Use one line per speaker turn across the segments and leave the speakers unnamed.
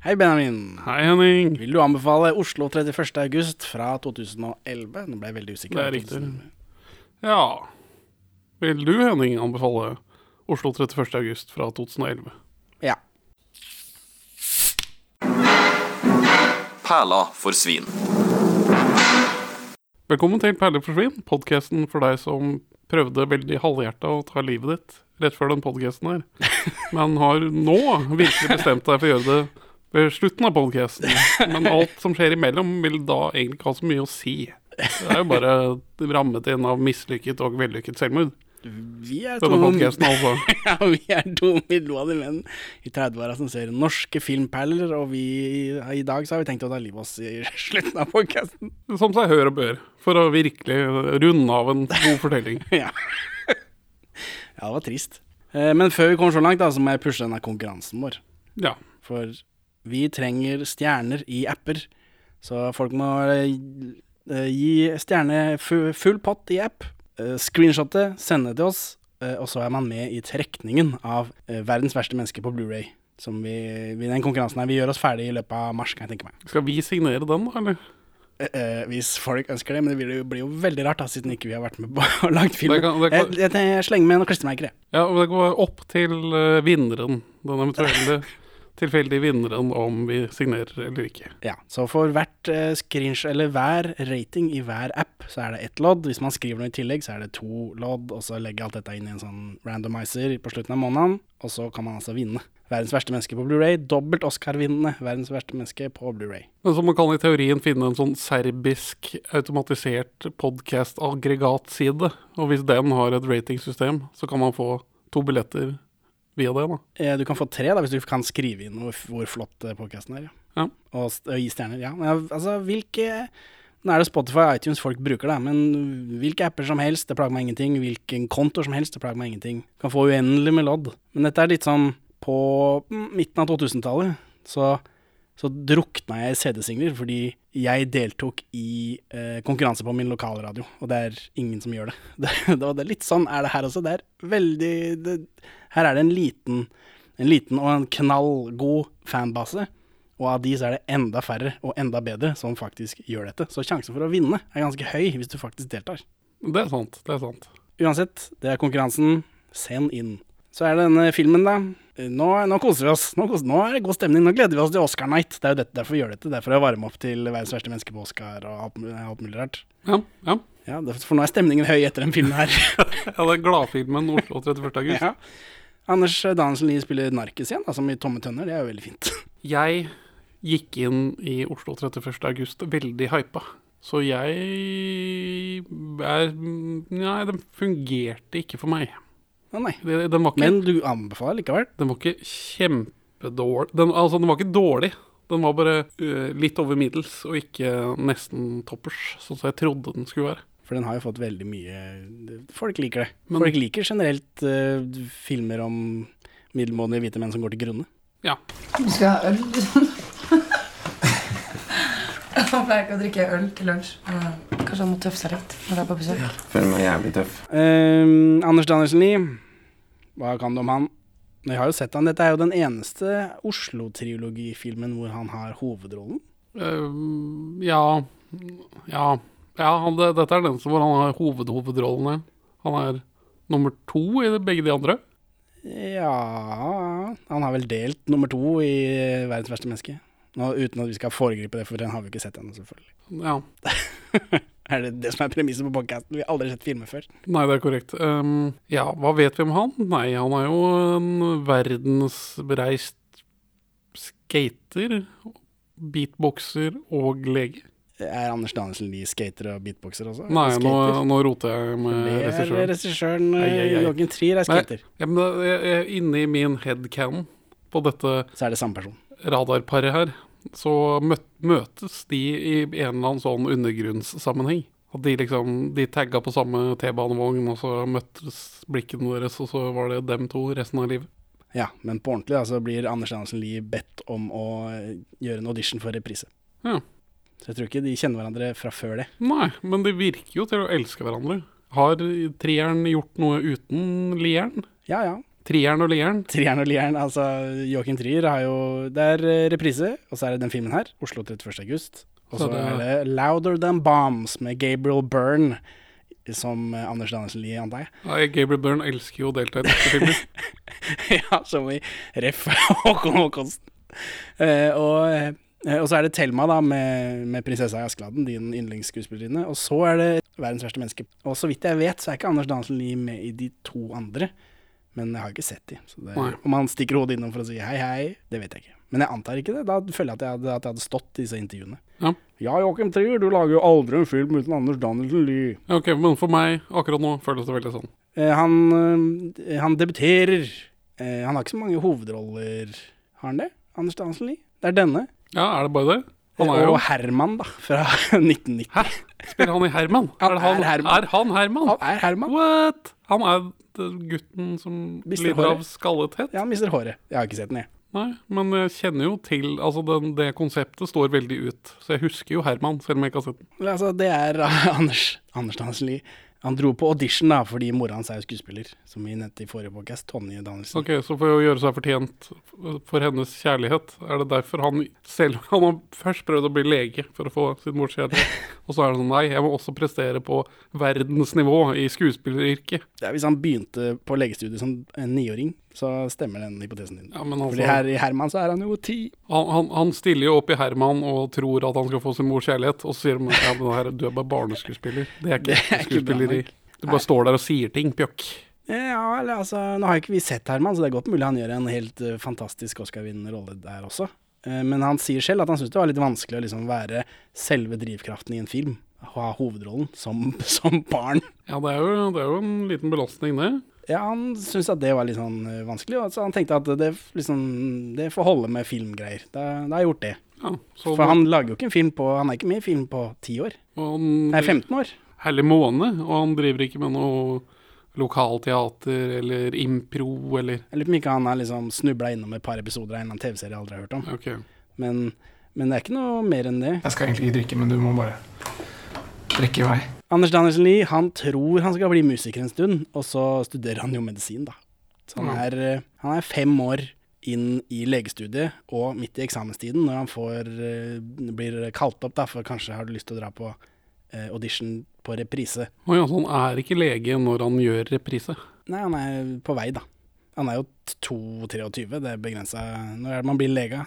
Hei, Benjamin.
Hei, Henning.
Vil du anbefale Oslo 31. august fra 2011? Nå ble jeg veldig usikker.
Det er riktig. Ja Vil du, Henning, anbefale Oslo 31. august fra 2011?
Ja.
Perla for svin.
Velkommen til Perler for svin, podkasten for deg som prøvde veldig halvhjerta å ta livet ditt rett før den podkasten her, men har nå virkelig bestemt deg for å gjøre det ved slutten av podkasten. Men alt som skjer imellom, vil da egentlig ikke ha så mye å si. Det er jo bare rammet inn av mislykket og vellykket selvmord.
Vi er
Denne
to-
podkasten, altså.
Ja, vi er to middelmådige menn i 30-åra som ser norske filmperler, og vi, i dag så har vi tenkt å ta livet av oss i slutten av podkasten.
Som seg hør og bør, for å virkelig runde av en god fortelling.
Ja. ja, det var trist. Eh, Men før vi kommer så langt, da, så må jeg pushe denne konkurransen vår.
Ja.
For vi trenger stjerner i apper, så folk må eh, gi stjerne fu- full pott i app. Eh, Screenshotte, sende til oss, eh, og så er man med i trekningen av eh, verdens verste menneske på Blu-ray. Som vi, vi, den konkurransen her, vi gjør oss ferdig i løpet av mars, kan jeg tenke meg.
Skal vi signere den, da, eller?
Eh, eh, hvis folk ønsker det, men det blir jo, blir jo veldig rart da, siden ikke vi har vært med på og lagd film.
Det kan- det kan-
Jeg, jeg, jeg slenger med noen klistremerker, jeg.
Ja, og det går opp til eh, vinneren. Den eventuelle tilfeldige vinneren, om vi signerer eller ikke.
Ja, så for hvert eh, screensh- eller hver rating i hver app, så er det ett lodd. Hvis man skriver noe i tillegg, så er det to lodd, og så legger jeg alt dette inn i en sånn randomizer på slutten av måneden, og så kan man altså vinne. Verdens verste menneske på Blu-ray, dobbelt Oscar-vinnende verdens verste menneske på Blu-ray.
Men så man kan i teorien finne en sånn serbisk automatisert podcast-aggregatside. Og hvis den har et ratingsystem, så kan man få to billetter via det, da.
Eh, Du kan få tre da, hvis du kan skrive inn hvor, hvor flott eh, podcasten er.
Ja.
Og, st- og gi stjerner, ja. Men, jeg- altså, hvilke... Nå er det Spotify og iTunes folk bruker da, men hvilke apper som helst, det plager meg ingenting. Hvilken konto som helst, det plager meg ingenting. Du kan få uendelig med lodd. Men dette er litt sånn, på mm, midten av 2000-tallet, så, så drukna jeg i CD-singler, fordi jeg deltok i eh, konkurranse på min lokalradio, og det er ingen som gjør det. Det, det, det er litt sånn er det her også, det er veldig... Det, her er det en liten, en liten og en knallgod fanbase, og av de så er det enda færre og enda bedre som faktisk gjør dette. Så sjansen for å vinne er ganske høy hvis du faktisk deltar.
Det er sant. det er sant.
Uansett, det er konkurransen. Send inn. Så er det denne filmen, da. Nå, nå koser vi oss. Nå, koser, nå er det god stemning. Nå gleder vi oss til Oscar Night. Det er jo dette, derfor vi gjør dette. Det er for å varme opp til verdens verste menneske på Oscar og alt, alt mulig rart.
Ja, ja.
Ja, det- For nå er stemningen høy etter den filmen her.
ja det er gladfilmen Oslo 31. august.
ja. Anders Danielsen Lie spiller narkis igjen, da, som i Tomme tønner. Det er jo veldig fint.
Jeg gikk inn i Oslo 31. august veldig hypa. Så jeg er Nei, den fungerte ikke for meg.
Å nei.
Den den var ikke
Men du anbefaler likevel?
Den var ikke kjempedårlig. Den, altså, den var ikke dårlig. Den var bare øh, litt over middels, og ikke nesten toppers, sånn som jeg trodde den skulle være.
For den har jo fått veldig mye Folk liker det.
Men-
Folk liker generelt eh, filmer om middelmådige hvite menn som går til grunne.
Ja.
Du skal ha øl, liksom. Han pleier ikke å drikke øl til lunsj. Kanskje han må tøffe seg litt når han er på besøk.
Føler meg jævlig tøff.
Eh, Anders Danielsen Lie, hva kan du om han? Jeg har jo sett han, Dette er jo den eneste Oslo-triologifilmen hvor han har hovedrollen.
Ehm, ja Ja. ja han, det, dette er den som hvor han har hovedhovedrollene. Han er nummer to i begge de andre.
Ja Han har vel delt nummer to i 'Verdens verste menneske'. Nå, uten at vi skal foregripe det, for den har vi ikke sett ennå, selvfølgelig.
Ja.
Er det det som er premisset på podkasten? Vi har aldri sett filmer før.
Nei, det er korrekt. Ehm, ja, hva vet vi om han? Nei, han er jo en verdensbereist skater, beatboxer og lege.
Er Anders Danielsen Lie skater og beatboxer også? Er
Nei,
han
nå,
skater?
nå roter jeg med
Det er
regissøren.
regissøren eh,
Ai, ai, ai.
Joakim Trier er
Nei,
skater.
ja, men da- jeg- jeg- Inni min headcanon på dette
Så er det samme person.
radarparet her, så møt, møtes de i en eller annen sånn undergrunnssammenheng. At de liksom, de tagga på samme T-banevogn, og så møttes blikkene deres, og så var det dem to resten av livet.
Ja, men på ordentlig da, så blir Anders Andersen Lie bedt om å eh, gjøre en audition for reprise.
Ja.
Så jeg tror ikke de kjenner hverandre fra før det.
Nei, men de virker jo til å elske hverandre. Har trieren gjort noe uten lieren?
Ja ja,
Trieren og lieren.
Trieren og lieren, altså Joakim Trier har jo Det er eh, reprise, og så er det den filmen her, Oslo 31. august. Og
Så
så
det-
er det Louder Than Bombs med Gabriel Byrne, som eh, Anders Danielsen Lie, antar jeg.
Nei, Gabriel Byrne elsker jo å delta i norske filmer.
ja, som i Ref Håkon Håkonsen. Eh, og, eh, og så er det Thelma, da, med, med prinsessa i Askeladden, din yndlingsskuespillerinne. Og så er det Verdens verste menneske. Og så vidt jeg vet, så er ikke Anders Danielsen Lie med i de to andre. Men jeg har ikke sett de. Så det,
Nei.
om han stikker hodet innom for å si hei, hei, det vet jeg ikke. Men jeg antar ikke det. Da føler jeg at jeg hadde, at jeg hadde stått i disse intervjuene.
Ja.
ja, Joakim Trier, du lager jo aldri en film uten Anders Danielsen Lie.
Ja, Ok, Men for meg akkurat nå føles det veldig sånn.
Eh, han, eh, han debuterer. Eh, han har ikke så mange hovedroller, har han det? Anders Danielsen Lie? Det er denne.
Ja, er det bare det? Han er
Eh,
jo
Og Herman, da, fra 1990.
Hæ? Spiller han i Herman?
Han
Er, det
er
han,
Herman.
er han Herman?
Han er Herman.
What? Han er d- gutten som
Mister
lider av
håret.
skallethet?
Ja, han mister håret. Jeg har ikke sett den, jeg.
Nei, men jeg kjenner jo til Altså, den, det konseptet står veldig ut. Så jeg husker jo Herman, selv om jeg ikke har sett den.
Men Altså, det er Anders, Anders Danielsen Lie. Han dro på audition da, fordi mora hans er jo skuespiller, som vi nevnte i forrige podcast, Tonje Danielsen.
Ok, Så for å gjøre seg fortjent for hennes kjærlighet, er det derfor han selv Han har først prøvd å bli lege for å få sin mors kjærlighet, og så er det sånn Nei, jeg må også prestere på verdensnivå i skuespilleryrket.
Ja, hvis han begynte på legestudiet som en niåring, så stemmer den hypotesen din.
Ja, men
Fordi
altså,
her i Herman så er han jo ti.
han, han, han stiller jo opp i Herman og tror at han skal få sin mors kjærlighet, og så sier de ja, men her, du er bare barneskuespiller. Det er ikke,
Det er ikke bra
skuespilleri.
nok.
Du bare står der og sier ting, pjokk.
Ja, eller altså, nå har jo ikke vi sett Herman, så det er godt mulig han gjør en helt eh, fantastisk Oscar-vinnende rolle der også. Eh, men han sier selv at han syns det var litt vanskelig å liksom være selve drivkraften i en film. Ha hovedrollen som, som barn.
Ja, det er, jo, det er jo en liten belastning, det.
Ja, han syntes at det var litt sånn eh, vanskelig, og så han tenkte at det, liksom, det får holde med filmgreier. Da, da har jeg gjort det.
Ja, så
For han lager jo ikke en film på Han er ikke med i film på ti år.
og
Nei,
han,
15 år.
Herlig måne, og han driver ikke med noe lokalteater eller impro eller
Jeg lurer på om ikke han har liksom snubla innom et par episoder av en eller annen TV-serie jeg aldri har hørt om.
Ok.
Men, men det er ikke noe mer enn det.
Jeg skal egentlig ikke drikke, men du må bare drikke i vei.
Anders Danielsen Lie han tror han skal bli musiker en stund, og så studerer han jo medisin, da. Så han
Ja.
er, eh, han er fem år inn i legestudiet, og midt i eksamenstiden, når han får, eh, blir kalt opp da, for kanskje har du lyst til å dra på eh, audition på reprise.
Å ja, så han er ikke lege når han gjør reprise.
Nei, han er på vei, da. Han er jo 22-23, det er begrensa Når er det man blir lege?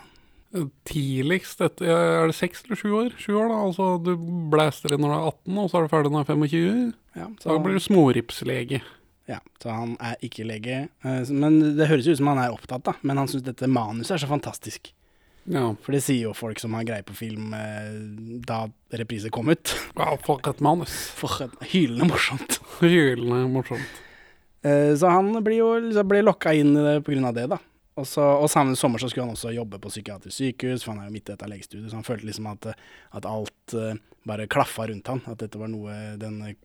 Tidligst etter Er det seks eller sju år? Sju år, da. Altså, du blaster inn når du er 18, og så er du ferdig når du er 25.
Ja,
Da blir du småripslege.
Ja, så han er ikke lege. eh, Men det høres jo ut som han er opptatt, da. Men han syns dette manuset er så fantastisk.
Ja.
For det sier jo folk som har greie på film eh, da reprise kom ut.
ja, for et manus.
For et hylende morsomt.
Hylende morsomt.
Eh, Så han blir jo liksom, ble lokka inn i det på grunn av det, da. Og, så, og samme sommer så skulle han også jobbe på psykiatrisk sykehus, for han er jo midt i dette legestudiet, så han følte liksom at, eh, at alt eh, bare klaffa rundt han. At dette var noe den eh,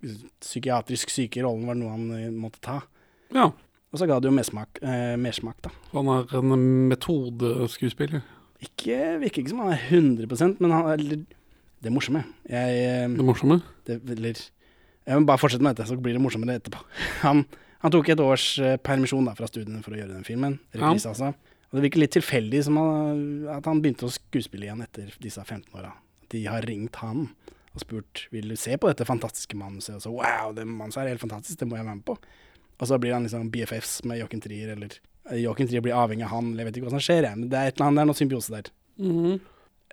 psykiatrisk syke rollen var noe han eh, måtte ta.
Ja.
Og så ga det jo mersmak, eh, mersmak da.
så Han er en metodeskuespiller.
Ikke, virker ikke som han er 100 men han eller, Det er morsomme. Jeg eh,
Det morsomme.
det, eller, jeg må bare fortsette med dette, så blir det morsommere etterpå. Han, han tok et års eh, permisjon da, fra studiene for å gjøre den filmen. Reprise, altså. Og det virker litt tilfeldig som han, at han begynte å skuespille igjen etter disse 15 åra. De har ringt han og spurt vil du se på dette fantastiske manuset. Og så wow, det manuset er helt fantastisk, det må jeg være med på. Og så blir han liksom BFFs med Joakim Trier, eller eh, Joakim Trier blir avhengig av han, eller jeg vet ikke hva som skjer, jeg, men det er, et eller annet, det er noe symbiose der.
Mhm.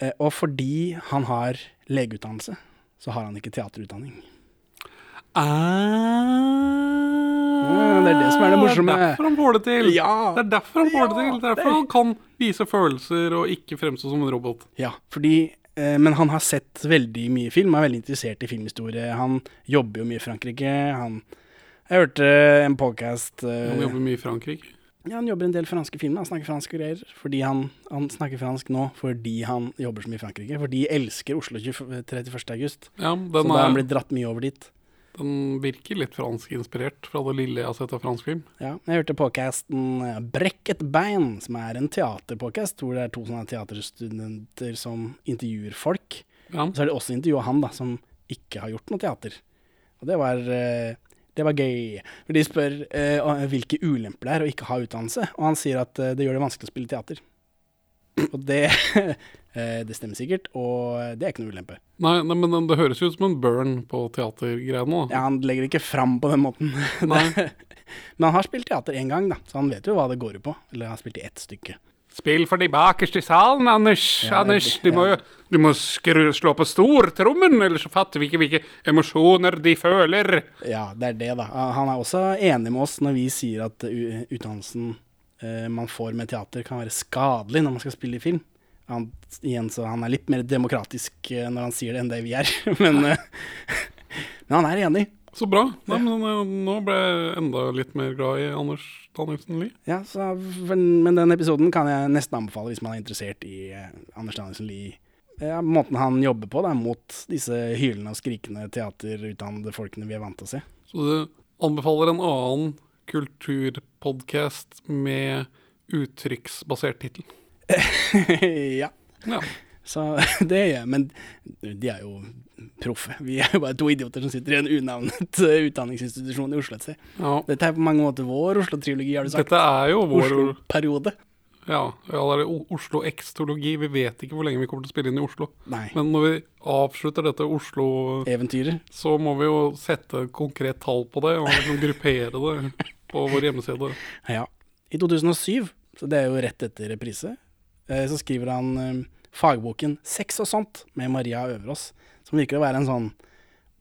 Eh, Og fordi han har legeutdannelse, så har han ikke teaterutdanning.
Ah,
det er det som er det morsomme.
Det er derfor han får det til.
Ja.
Det er derfor han får
Ja,
det til. Det er
det-
derfor han kan vise følelser og ikke fremstå som en robot.
Ja, fordi eh, Men han har sett veldig mye film, er veldig interessert i filmhistorie. Han jobber jo mye i Frankrike. Han Jeg hørte en podkast
Han jobber mye i Frankrike.
ja, Han jobber en del franske filmer, han snakker fransk og greier. Fordi han, han snakker fransk nå fordi han jobber så mye i Frankrike. For de elsker Oslo 20 31. august.
Ja,
Så
den,
da har han
er,
blitt dratt mye over dit.
den virker litt franskinspirert fra det lille jeg har sett av fransk film.
Ja, jeg hørte eh, podkasten Brekk et bein, som er en teaterpodkast hvor det er to sånne teaterstudenter som intervjuer folk.
Ja.
Og så er det også intervjua han, da, som ikke har gjort noe teater. Og det var eh, Det var gøy. For De spør eh, og- hvilke ulemper det er å ikke ha utdannelse, og han sier at eh, det gjør det vanskelig å spille teater. Og det, eh, det stemmer sikkert, og eh, det er ikke noe ulempe.
Nei, nei, men den- det høres jo ut som en burn på teatergreiene. da.
Ja, han legger det ikke fram på den måten.
Nei.
Men han har spilt teater én gang, da, så han vet jo hva det går ut på. Eller han har spilt i ett stykke.
Spill for de bakerste i salen, Anders.
Ja,
Anders,
det-
du må, jo- du må skru, slå på stortrommen, ellers så fatter vi ikke hvilke emosjoner de føler.
Ja, det er det, da. Han er også enig med oss når vi sier at eh, u- utdannelsen eh, man får med teater, kan være skadelig når man skal spille i film. Han, igjen, så han er litt mer demokratisk eh, når han sier det, enn det vi er. Men, eh, men han er enig.
Så bra. Nei, men eh, nå ble jeg enda litt mer glad i Anders Danielsen Lie.
Ja, så, men, men den episoden kan jeg nesten anbefale hvis man er interessert i eh, Anders Danielsen Lie. Ja, måten han jobber på, da, mot disse hylende og skrikende teaterutdannede folkene vi er vant til å se.
Så du anbefaler en annen kulturpodkast med uttrykksbasert tittel.
ja,
Ja.
så det gjør jeg. Men de er jo proffe. Vi er jo bare to idioter som sitter i en unavnet eh, utdanningsinstitusjon i Oslo et sted.
ja.
Dette er på mange måter vår Oslo-triologi, har du sagt.
Dette er jo vår
Oslo-periode.
Ja, ja det er O- Oslo X-teologi. Vi vet ikke hvor lenge vi kommer til å spille inn i Oslo.
Nei.
Men når vi avslutter dette Oslo,
Eventyrer.
så må vi jo sette et konkret tall på det, og liksom gruppere det på vår hjemmeside.
Ja. I 2007, så det er jo rett etter reprise, eh, så skriver han eh, fagboken 'Sex og sånt' med Maria Øverås, som virker å være en sånn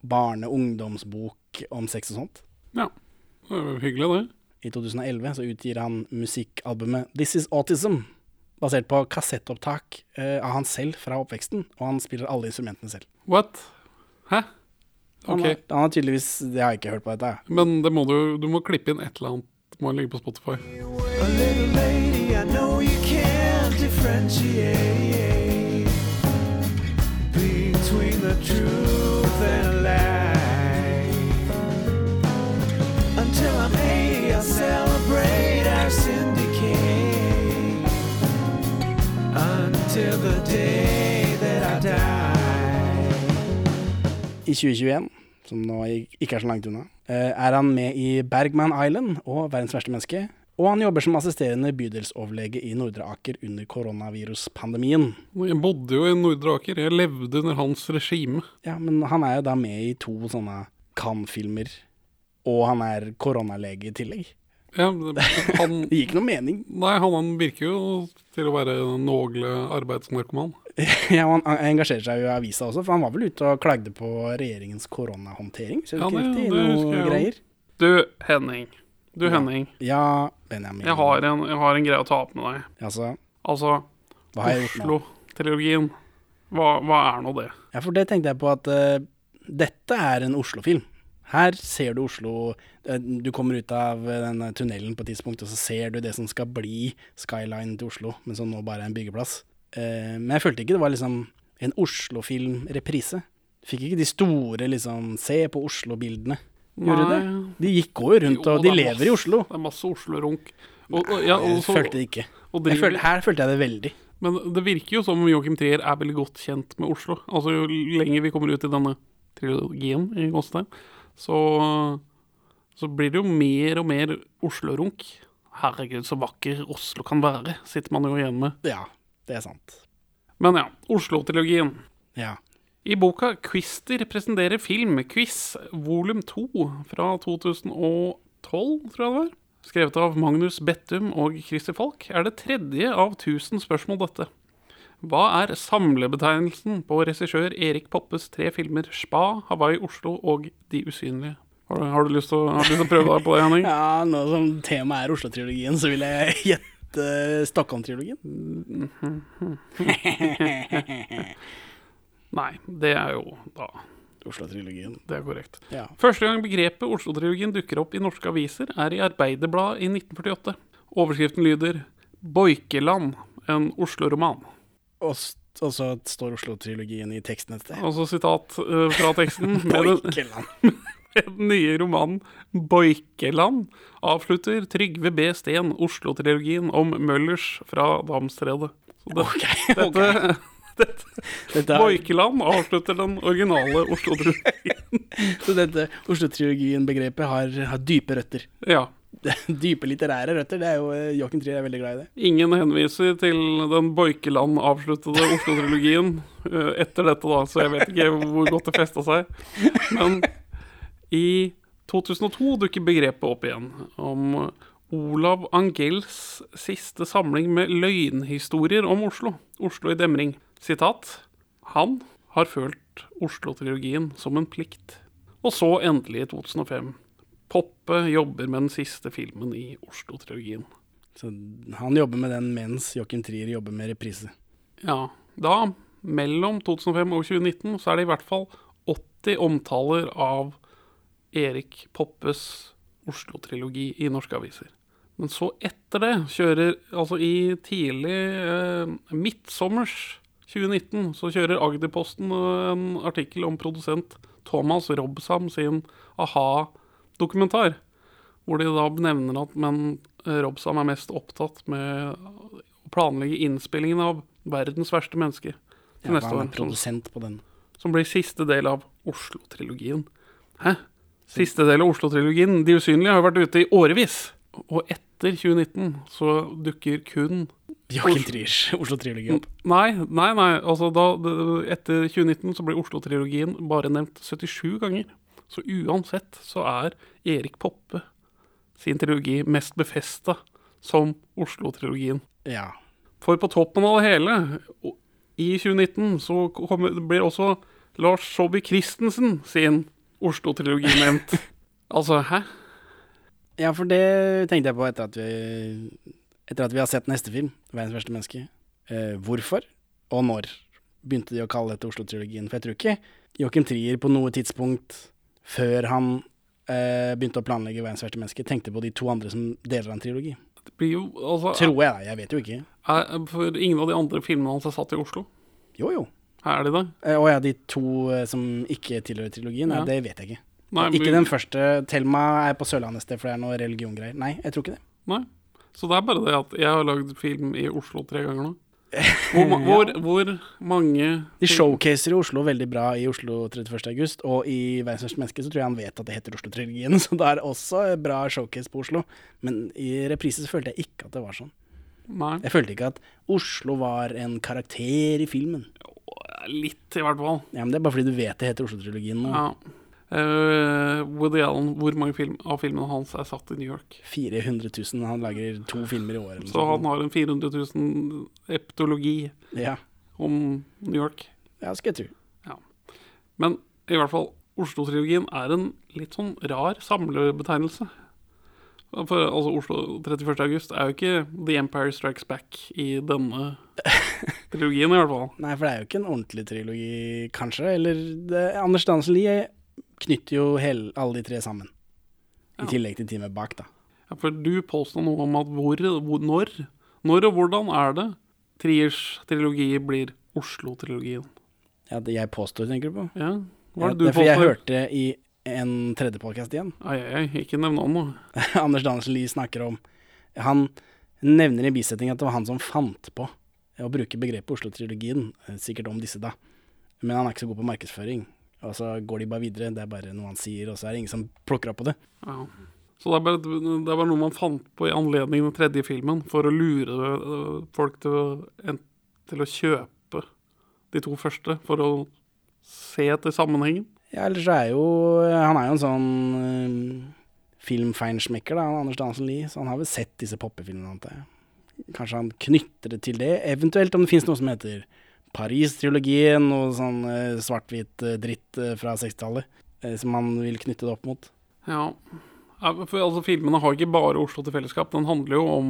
barne-ungdomsbok om sex og sånt.
Ja. Det er jo hyggelig, det.
I 2011 så utgir han musikkalbumet 'This Is Autism', basert på kassettopptak eh, av han selv fra oppveksten, og han spiller alle instrumentene selv.
What? Hæ?
Han,
Ok,
har, han har tydeligvis Det har jeg ikke hørt på dette. jeg.
men det må du, du må klippe inn et eller annet. Det må ligge på Spotify.
A little lady, I know you can't differentiate between the truth and a lie. Until I'm 80, I'll celebrate our syndicate until the day that I die.
I 2021, som nå ik- ikke er så langt unna, eh, er han med i Bergman Island og Verdens verste menneske. Og han jobber som assisterende bydelsoverlege i Nordre Aker under koronaviruspandemien.
Jeg bodde jo i Nordre Aker. Jeg levde under hans regime.
Ja, men han er jo da med i to sånne Cannes-filmer, og han er koronalege i tillegg.
Ja, men han,
Det gir ikke noe mening.
nei, han, han virker jo til å være en någle arbeidsnarkoman.
Ja, og han engasjerer seg jo i avisa også, for han var vel ute og klagde på regjeringens koronahåndtering, så det
Ja,
er ikke
det-
riktig
det husker
noe
jeg jo.
greier.
Du, Henning. Du, Henning.
Ja, Benjamin.
Jeg har, en, jeg har en greie å ta opp med deg.
Altså,
Altså,
hva har jeg gjort nå?
Oslo-trilogien. Hva, hva er nå det?
Ja, for det tenkte jeg på at eh, dette er en Oslo-film. Her ser du Oslo eh, Du kommer ut av denne tunnelen på et tidspunkt, og så ser du det som skal bli skyline til Oslo, men som nå bare er en byggeplass. Eh, men jeg følte ikke det var liksom en Oslo-film-reprise. Fikk ikke de store liksom Se på Oslo-bildene. Gjorde
Nei.
det? De gikk jo rundt,
Jo,
og de
det er
lever i
masse-
Oslo.
Det er masse Oslo-runk. Og, og, ja, og,
Jeg
så-
følte det ikke.
og
Jeg
driver-
følte, her følte jeg det veldig.
Men det virker jo som Joakim Trier er veldig godt kjent med Oslo. Altså Jo lenger vi kommer ut i denne trilogien, i Gåstein, så, så blir det jo mer og mer Oslo-runk. Herregud, så vakker Oslo kan være, sitter man jo igjen med.
Ja, det er sant.
Men ja, Oslo-trilogien.
Ja.
I boka 'Quister presenterer filmquiz', volum 2 fra 2012, tror jeg det var, skrevet av Magnus Bettum og Christer Falk, er det tredje av 1000 spørsmål dette. Hva er samlebetegnelsen på regissør Erik Poppes tre filmer 'Spa', 'Hawaii', 'Oslo' og 'De usynlige'? Har du, har du, lyst, til, å- har du lyst til å prøve deg på det, Henning?
Ja, nå som temaet er Oslo-trilogien, så vil jeg gjette Stockholm-trilogien.
Mm-hmm. Nei, det er jo da
Oslo-trilogien,
Det er korrekt.
ja.
Første gang begrepet Oslo-trilogien dukker opp i norske aviser, er i Arbeiderbladet i 1948. Overskriften lyder 'Boikeland en Oslo-roman'.
Og s- og så står Oslo-trilogien i teksten et sted.
Altså sitat eh, fra teksten. Med den,
Boikeland.
med den nye romanen 'Boikeland' avslutter Trygve B. Steen Oslo-trilogien om Møllers fra Damstredet. Så det,
Ok, ok.
dette,
Dette er,
Boikeland avslutter den originale Oslo-truen.
så dette Oslo-triologien-begrepet har, har dype røtter.
Ja.
dype litterære røtter. Det er jo eh, Joachim Trier er veldig glad i det.
Ingen henviser til den Boikeland-avsluttede Oslo-trilogien eh, etter dette, da, så jeg vet ikke hvor godt det festa seg. Men i 2002 dukker begrepet opp igjen om Olav Angels siste samling med løgnhistorier om Oslo. Oslo i demring. Sitat. Han har følt Oslo-trilogien som en plikt. Og så endelig i 2005. Poppe jobber med den siste filmen i Oslo-trilogien.
Så han jobber med den mens Joachim Trier jobber med reprise.
Ja, da, mellom 2005 og 2019, så er det i hvert fall 80 omtaler av Erik Poppes Oslo-trilogi i norske aviser. Men så etter det kjører, altså i tidlig eh, midtsommers 2019, så kjører Agderposten eh, en artikkel om produsent Thomas Robsam sin a-ha-dokumentar. Hvor de da nevner at men eh, Robsam er mest opptatt med å planlegge innspillingen av 'Verdens verste menneske' til
Ja,
neste
han
år.
er
Som,
produsent på den.
som blir siste del av Oslo-trilogien. Hæ? Siste del av Oslo-trilogien, De usynlige, har jo vært ute i årevis. Og etter 2019 så dukker kun
Joachim
Oslo-
Triers Oslo-triologi opp.
Nei, nei, nei. Altså da, det- etter 2019 så ble Oslo-trilogien bare nevnt 77 ganger. Så uansett så er Erik Poppe sin trilogi mest befesta som Oslo-trilogien.
Ja.
For på toppen av det hele, o- i 2019, så kommer, blir også Lars Saabye Christensen sin Oslo-trilogi nevnt. altså, hæ?
ja, for det tenkte jeg på etter at vi, etter at vi har sett neste film, 'Verdens verste menneske'. Eh, hvorfor og når begynte de å kalle dette Oslo-trilogien? For jeg tror ikke Joachim Trier på noe tidspunkt før han eh, begynte å planlegge 'Verdens verste menneske', tenkte på de to andre som deler av en trilogi.
Det blir jo, altså,
Tror jeg, da. Jeg vet jo ikke.
er, er, for ingen av de andre filmene hans er satt i Oslo.
Jo, jo.
Er de det?
Eh, Å ja, de to eh, som ikke tilhører trilogien? Nei,
Ja.
det vet jeg ikke.
Nei,
ikke
vi-
den første. Thelma er på Sørlandet et sted, for det er noe religiongreier. Nei, jeg tror ikke det.
Nei. Så det er bare det at jeg har lagd film i Oslo tre ganger nå. Hvor, ma- hvor, hvor mange
De showcaser jo Oslo veldig bra i Oslo 31. august, og i Verdens verste menneske så tror jeg han vet at det heter Oslo-trilogien, så det er også et bra showcase på Oslo. Men i reprise så følte jeg ikke at det var sånn.
Nei,
Jeg følte ikke at Oslo var en karakter i filmen.
litt i hvert fall.
Ja, men Det er bare fordi du vet det heter Oslo-trilogien nå.
Ja. Eh, Woody Allen, hvor mange film, av filmene hans er satt i New York?
400 000, han lager to filmer i året. eller
Så
noe
han
sånt.
har en 400 000 eptologi
Ja,
om New York.
ja skal jeg tro.
Men i hvert fall, Oslo-trilogien er en litt sånn rar samlebetegnelse. For altså, Oslo 31. august er jo ikke The Empire Strikes Back i denne trilogien, i hvert fall.
Nei, for det er jo ikke en ordentlig trilogi, kanskje. Eller det, Anders Dansen Lie knytter jo hel, alle de tre sammen. I
Ja.
tillegg til de med bak, da.
Ja, for du påstod noe om at hvor, hvor, når, når og hvordan er det Triers trilogi blir Oslo-trilogien?
Ja, det jeg påstår, tenker du på?
Ja, hva
Ja,
er det du
for jeg
påstår?
hørte i en tredje podkast igjen,
Ai, ai, ai, ikke nevn navn nå.
Anders Dansen Lie snakker om Han nevner i en bisetning at det var han som fant på å bruke begrepet Oslo-trilogien, eh, sikkert om disse, da. Men han er ikke så god på markedsføring. Og så går de bare videre, det er bare noe han sier, og så er det ingen som plukker opp på det.
Ja. Så det er, bare, det er bare noe man fant på i anledning den tredje filmen, for å lure øh, folk til å, en, til å kjøpe de to første, for å se etter sammenhengen.
Ja, ellers så er jo Han er jo en sånn eh, filmfeinschmecker, da, han Anders Dansen Lie, så han har vel sett disse poppefilmene, antar jeg. Kanskje han knytter det til det, eventuelt om det finnes noe som heter Paris-trilogien, noe sånn eh, svart-hvit eh, dritt eh, fra 60-tallet, eh, som han vil knytte det opp mot.
Ja. Ja, For altså, filmene har ikke bare Oslo til fellesskap, den handler jo om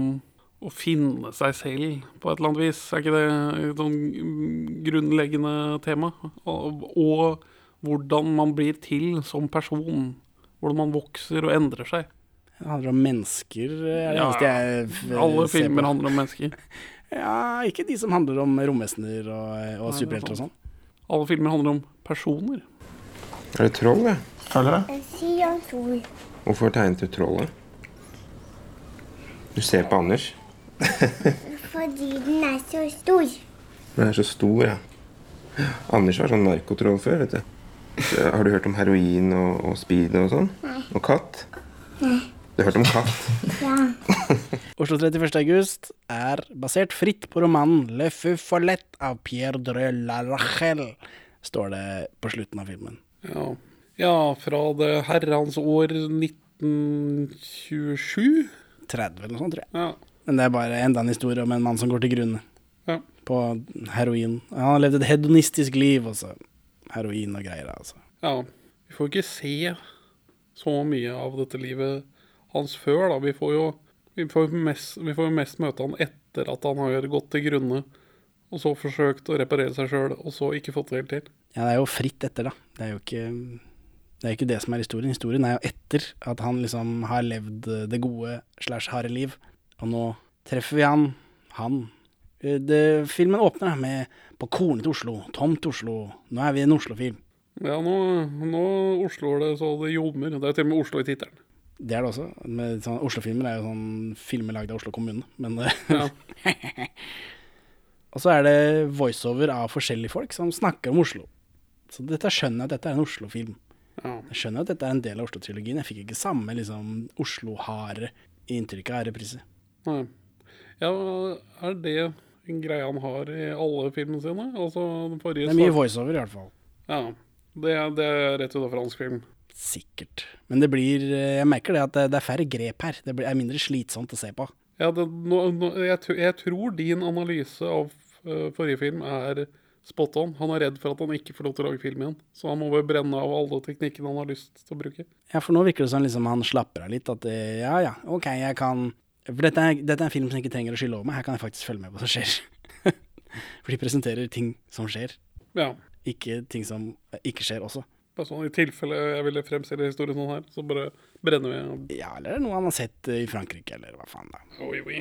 å finne seg selv på et eller annet vis. Er ikke det et sånn mm, grunnleggende tema? Og, og hvordan man blir til som person. Hvordan man vokser og endrer seg.
Det handler om mennesker, eh, er det
Ja,
eneste jeg f-
Alle
ser
filmer
på.
handler om mennesker.
Ja, ikke de som handler om romvesener og, og
det er
superhelter og sånn.
Alle filmer handler om personer.
Er det troll, det?
Føler det?
Si han tror.
Hvorfor tegnet du trollet? Du ser på Anders.
Fordi den er så stor.
Den er så stor, ja. Anders var sånn narkotroll før, vet du. Så Har du hørt om heroin og, og speed og sånn? Og katt? Du har hørt om katt?
Oslo 31. august er basert fritt på romanen Le Fou Follette av Pierre de la Rachel, står det på slutten av filmen.
Ja. ja, fra det herrens år 1927.
30 eller noe sånt, tror jeg.
Ja.
Men det er bare enda en historie om en mann som går til grunne.
Ja.
På heroin. Han har levd et hedonistisk liv, altså. Heroin og greier, altså.
ja. Vi får ikke se så mye av dette livet hans før, da. Vi får jo vi får mest, vi får jo mest møte han etter at han har gått til grunne, og så forsøkt å reparere seg sjøl, og så ikke fått det helt til.
Ja, det er jo fritt etter, da. Det er jo ikke det er jo ikke det som er historien. Historien er jo etter at han liksom har levd det gode slash harde liv. Og nå treffer vi han. Han. Eh, Det, filmen åpner da med på kornet til Oslo, tomt Oslo. Nå er vi en Oslo-film.
Ja, nå, nå Oslo er det så det ljomer. Det er til og med Oslo i tittelen.
Det er det også. Med sånn, Oslo-filmer er jo sånn filmer lagd av Oslo kommune, men eh,
Ja.
Og så er det voiceover av forskjellige folk som snakker om Oslo. Så dette skjønner jeg at dette er en Oslo-film.
Ja.
Jeg skjønner at dette er en del av Oslo-trilogien. Jeg fikk ikke samme liksom, Oslo-harde inntrykket av reprise.
Nei. Ja, er det en greie han har i alle filmene sine? Altså den forrige
Det er mye
start-
voiceover, i hvert fall.
Ja. Det, er- det er rett ut av fransk film.
Sikkert. Men det blir eh, Jeg merker det at det, det er færre grep her. Det blir, er mindre slitsomt å se på.
Ja, det, nå, nå, jeg, tr- jeg tror din analyse av eh, forrige film er spot on. Han er redd for at han ikke får lov til å lage film igjen. Så han må bare brenne av alle teknikkene han har lyst til å bruke.
Ja, for nå virker det som liksom han slapper av litt. At eh, ja ja, OK, jeg kan For dette er, dette er en film som ikke trenger å skylde over meg. Her kan jeg faktisk følge med på hva som skjer. for de presenterer ting som skjer,
Ja.
ikke ting som eh, ikke skjer også.
Bare sånn, I tilfelle jeg ville fremstille historien sånn her, så bare brenner vi av.
Ja, eller noe han har sett eh, i Frankrike, eller hva faen, da.
Oi, oi.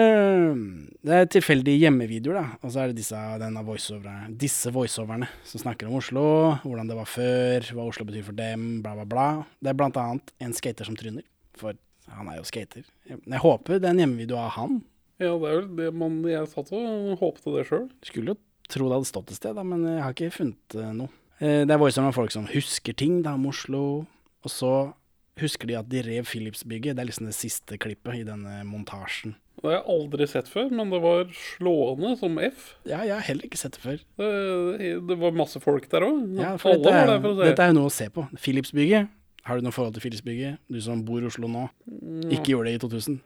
Ehm, Det er tilfeldige hjemmevideoer, da. Og så er det disse, denne voiceoverne, disse voiceoverne som snakker om Oslo, hvordan det var før, hva Oslo betyr for dem, bla, bla, bla. Det er blant annet en skater som tryner, for han er jo skater. Jeg jeg håper det er en hjemmevideo av han.
Ja, det er vel det man Jeg satt og håpte det sjøl.
Skulle jo tro det hadde stått et sted, da, men jeg har ikke funnet eh, noe. Eh, Det er voiceover av folk som husker ting da om Oslo, og så husker de at de rev Philips-bygget. Det er liksom det siste klippet i denne montasjen.
Det har jeg aldri sett før, men det var slående som F.
Ja, jeg har heller ikke sett det før.
Det, det var masse folk der òg.
Ja, for
Alle
dette
var
er,
der for å se.
dette er jo noe å se på. Philipsbygget. Har du noe forhold til Philipsbygget, du som bor i Oslo nå?
Mm,
Ikke gjorde det i 2000.